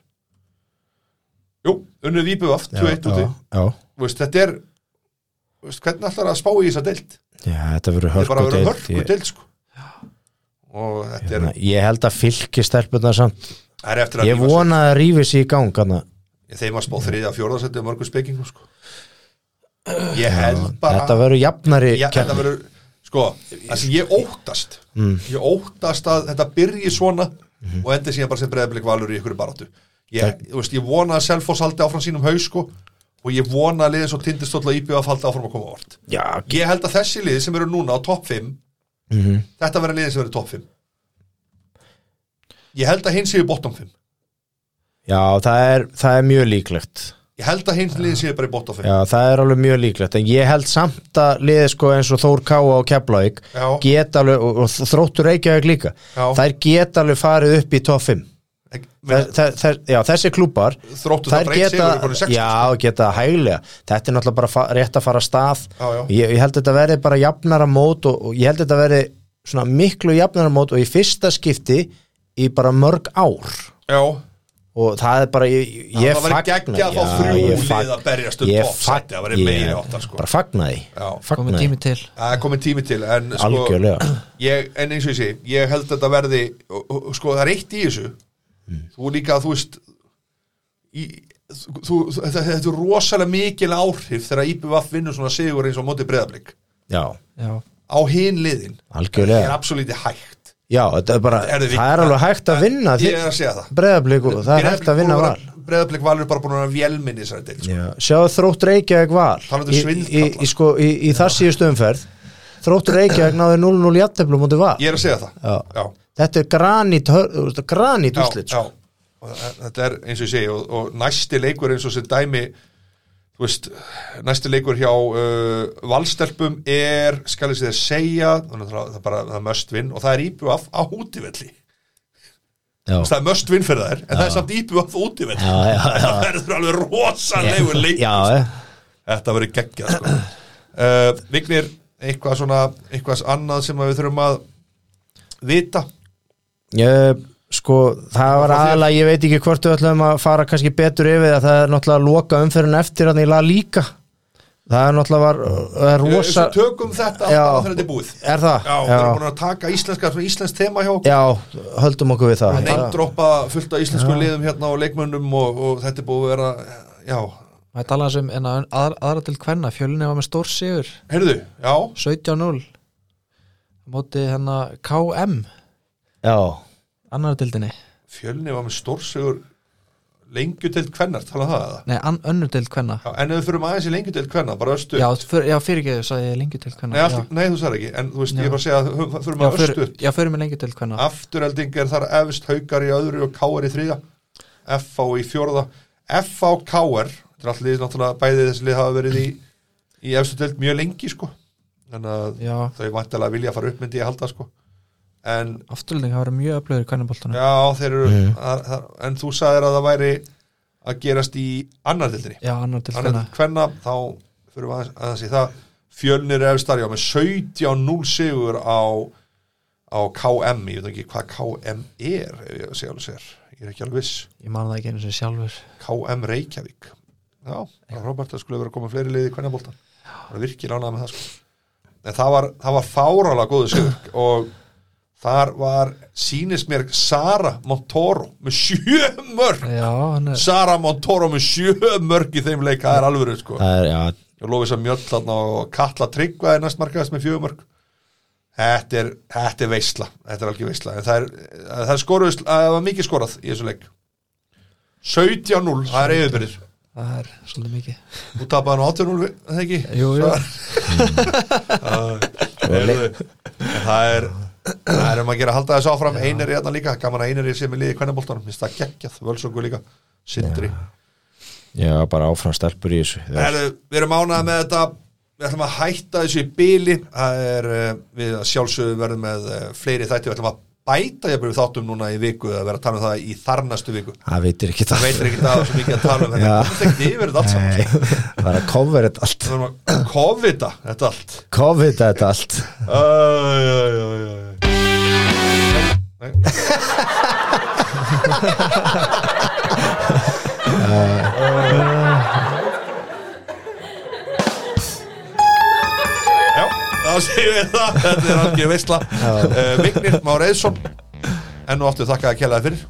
Jú, unnið í BVF 2-1 úti
já,
Þú veist, þetta er þú veist, hvernig ætlar að spá í þessa deilt
já, þetta verður
þetta er bara
hörku
að vera hörku
deild
deilt sko. og þetta er,
Ég- hérna, Ég held að fylkistarpuna samt
það er eftir að
Ég
rífa
vona að það rífi sig í gang hérna. hana.
sig. þeim að spá þriðja að fjórðarsætti mörgum spekingum sko. ég held bara
Þetta verður jafnari
Já, þetta
keppni. Mm.
verður, sko, það sem ég óttast ég óttast að þetta byrji svona
Mhm.
og endi síðan bara sem breyðablik valur í ykkur baráttu ég, þú veist, ég vona að Selfoss haldi áfram sínum haus sko, og ég vona að liðin svo tindistólla íbjöf haldi áfram að koma vort
Já,
ég held að þessi liði sem eru núna á topp 5
Mhm.
þetta verður liði sem eru topp 5 ég held að hinn séu bottom 5
já það, er, það er mjög líklegt
ég held að hinn liði séu bara í bottom 5
Já, það er alveg mjög líklegt En ég held samt að liði sko eins og Þór Káa og Keflavík
Já.
Geta alveg, og, og þróttur Reykjavík líka
Já.
Þær geta alveg farið upp í top 5
Ek-
Þess,
menn,
þess, þess, já, þessi klúpar
Þróttur
þær
það breytt sigur í konum
geta,
sex, sko.
já, geta hæglega þetta er náttúrulega bara fa- rétt að fara af stað
Já, já.
Ég, ég held þetta verði bara jafnara mót og, og ég held þetta verði svona miklu jafnara mót og í fyrsta skipti í bara mörg ár
já,
og það er bara ég, ég,
Já,
ég
það væri
fagna
geggjað að fá
Já,
þrjú
ég
lið
fag-
að berjast um
ég
topp sæti,
fag-
það væri meiri
ég
háttar, sko.
bara fagnaði,
Já.
komið
fagnaði.
tími til
það er komið tími til en sko,
algjörlega
ég, en eins og ég sé, ég held að þetta verði og- og- og sko það er eitt í þessu
Mm.
þú líka, þú veist í, þú, þú, þetta, þetta er rosalega mikil áhrif þegar IBVF vinnur svona sigur eins og móti breyðablik
já,
já,
á hin liðin
Algjörlega.
er absolutt hægt
Já, þetta er bara,
Herðu, við-
það er alveg hægt að vinna
Ég er að segja það.
Breiðablik og það er hægt að vinna val
Breðablik valur bara búin að vera vélminni þessari deil sko.
Já, sjáðu þrótt Reykjavík val
Talandi um
í, í,
svindkalla.
í, sko, í, í þar síðustu umferð þrótt Reykjavík náði 0-0 jætteflum mútið val
Ég er að segja það
Já.
Já.
Þetta er granít, hör- þú veist, granít sko.
Já,
úslit
já. Og þa- Þetta er eins og ég segi og, og næsti leikur eins og sem dæmi þú veist, næsti leikur hjá uh, valstelpum er skal ég segja segja þannig að það, það, bara, það er möst vinn og það er íbjöf á útivelli
Já.
það er möst vinn fyrir þær en það er samt íbjöf á útivelli
Já, já, já.
það verður alveg rosalegu leikur
Já, eh.
þetta verður geggjað sko. uh, Vignir, eitthvað svona eitthvað annað sem að við þurfum að vita
Ég, sko, það var aðalega, ég veit ekki hvort við ætlum að fara kannski betur yfir það, það er náttúrulega að loka umferðin eftir að nýla líka það er náttúrulega var, það er rosa
Svo tökum þetta
Já.
alltaf þegar þetta er búið
er það?
Já, við erum búin að taka íslenska, svona íslensk tema hjá okkur
já, höldum okkur við það
Neymdroppa fullt af íslensku liðum hérna og leikmönnum og, og þetta er búið að vera Já,
maður tala um en að, að, aðra til hvenna fjölunni var með stór sigur
heyrðu, já
17-0 móti hérna, hennar KM
já,
annar dildinni,
Fjölni var með stórsugur lengjudeld kvennar, tala um það eða?
nei an, önnur dild hvenna
Já, en ef við fyrum aðeins í lengjudeld kvennar, bara östu
já, fyr, já fyrir ekki þess að ég lengju til
Nei,
hvenna
allt, nei, þú sagði ekki, en þú veist, ég er bara að segja að hö- hö- förum
já,
að
fyr,
östu
já fyrir mig lengju til hvenna
Afturhelding er þar efst haukar í öðru og káar í þriða FH í fjórða FH og káar þetta er allir lið náttúrulega bæði þessi lið hafa verið í í efstu deild mjög lengi sko þannig að
já,
þau vantilega vilja að fara upp myndi ég halda sko en
afturlending hafa verið mjög öflöður í hvennaboltunum já.
já þeir eru þar, þar, en þú sagðir að það væri að gerast í annar deildinni
já, annar til
annar
hvenna
deild hvenna þá fyrir við aðeins að þessi það fjölnir efst þar já með 17-0 sigur á á KM, ég veit ekki hvað KM er ef ég sé alveg sér, ég er ekki alveg viss
ég man það ekki einu sem sjálfur
KM Reykjavík Já, það er Robert að skulle vera að koma fleiri liði í kvennabóltan Það er virkilega ánægð með það sko. En það var, það var fáralega góðu sigur og þar var sýnist mér Sara Montoro með sjö mörg
já, hann er
Sara Montoro með sjö mörg í þeim leik, það er alvöru sko.
það er, já,
og lofið sem mjöll þarna og kalla tryggva er næst markaðast með fjögumörk þetta er, þetta er veisla þetta er algjör veisla en það er, það er skoruð, það var mikið skorað í þessu leik 17-0, það er yfirbyrðir
það er svolítið mikið
þú tapaði nú 18-0, við- það ekki
jú, Mm. jú,
Heyrðu, en það er það er um að gera að halda þessu áfram einari þarna líka, gaman að einari sem er liðið í kvennaboltanum, minnst það geggjað, völsöngu líka sindri
já, bara áfram stelpur í þessu já,
Herðu, við erum ánað með þetta við ætlum að hætta þessu í bíli það er eh, við að sjálfsögðu verðum með eh, fleiri þætti, við ætlum að bæta ég byrju þáttum núna í viku að vera að tala um það í þarnastu viku
það veitir ekki
það
það
veitir ekki það sem mikið að tala um þetta
Já.
komst ekki yfir þetta allt saman
Nei, það er að cover þetta allt
við erum að COVID-a þetta allt
COVID þetta allt
Æj, æj, æj, æj, æj. Nei, nei. Já, þá séum við það Þetta er algjör veistla uh, Vignir Már Eðsson Enn og aftur þakka að kella það fyrir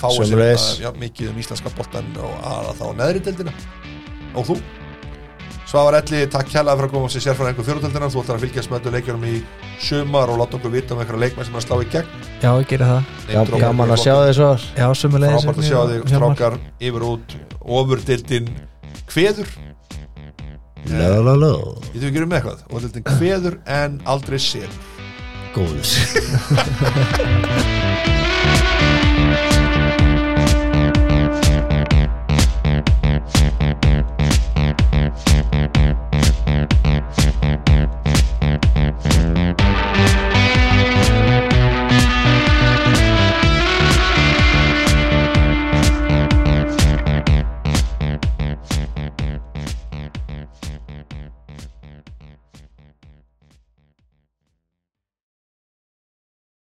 Fáið sér
Sömuleiðis.
uh, já, mikið um íslenska boltan og aðra þá neðri deildina Og þú Svavar Elli, takk kella fyrir að koma sér sérfæðan einhver fjóruðeldina Þú ætlar að fylgjast með öllu leikjunum í sumar og láta okkur vita um einhverja leikmenn sem er að slá í gegn
já, ég geri það
Já,
Neymdroppa
gaman
er
að
flott.
sjá þessu var
já, sömulegis
Frábært að sjá þig, strákar, yfir og út Ofurdildin kveður
Ló, ló, ló,
Við þau gerum eitthvað Ofurdildin kveður en aldrei sér
góðs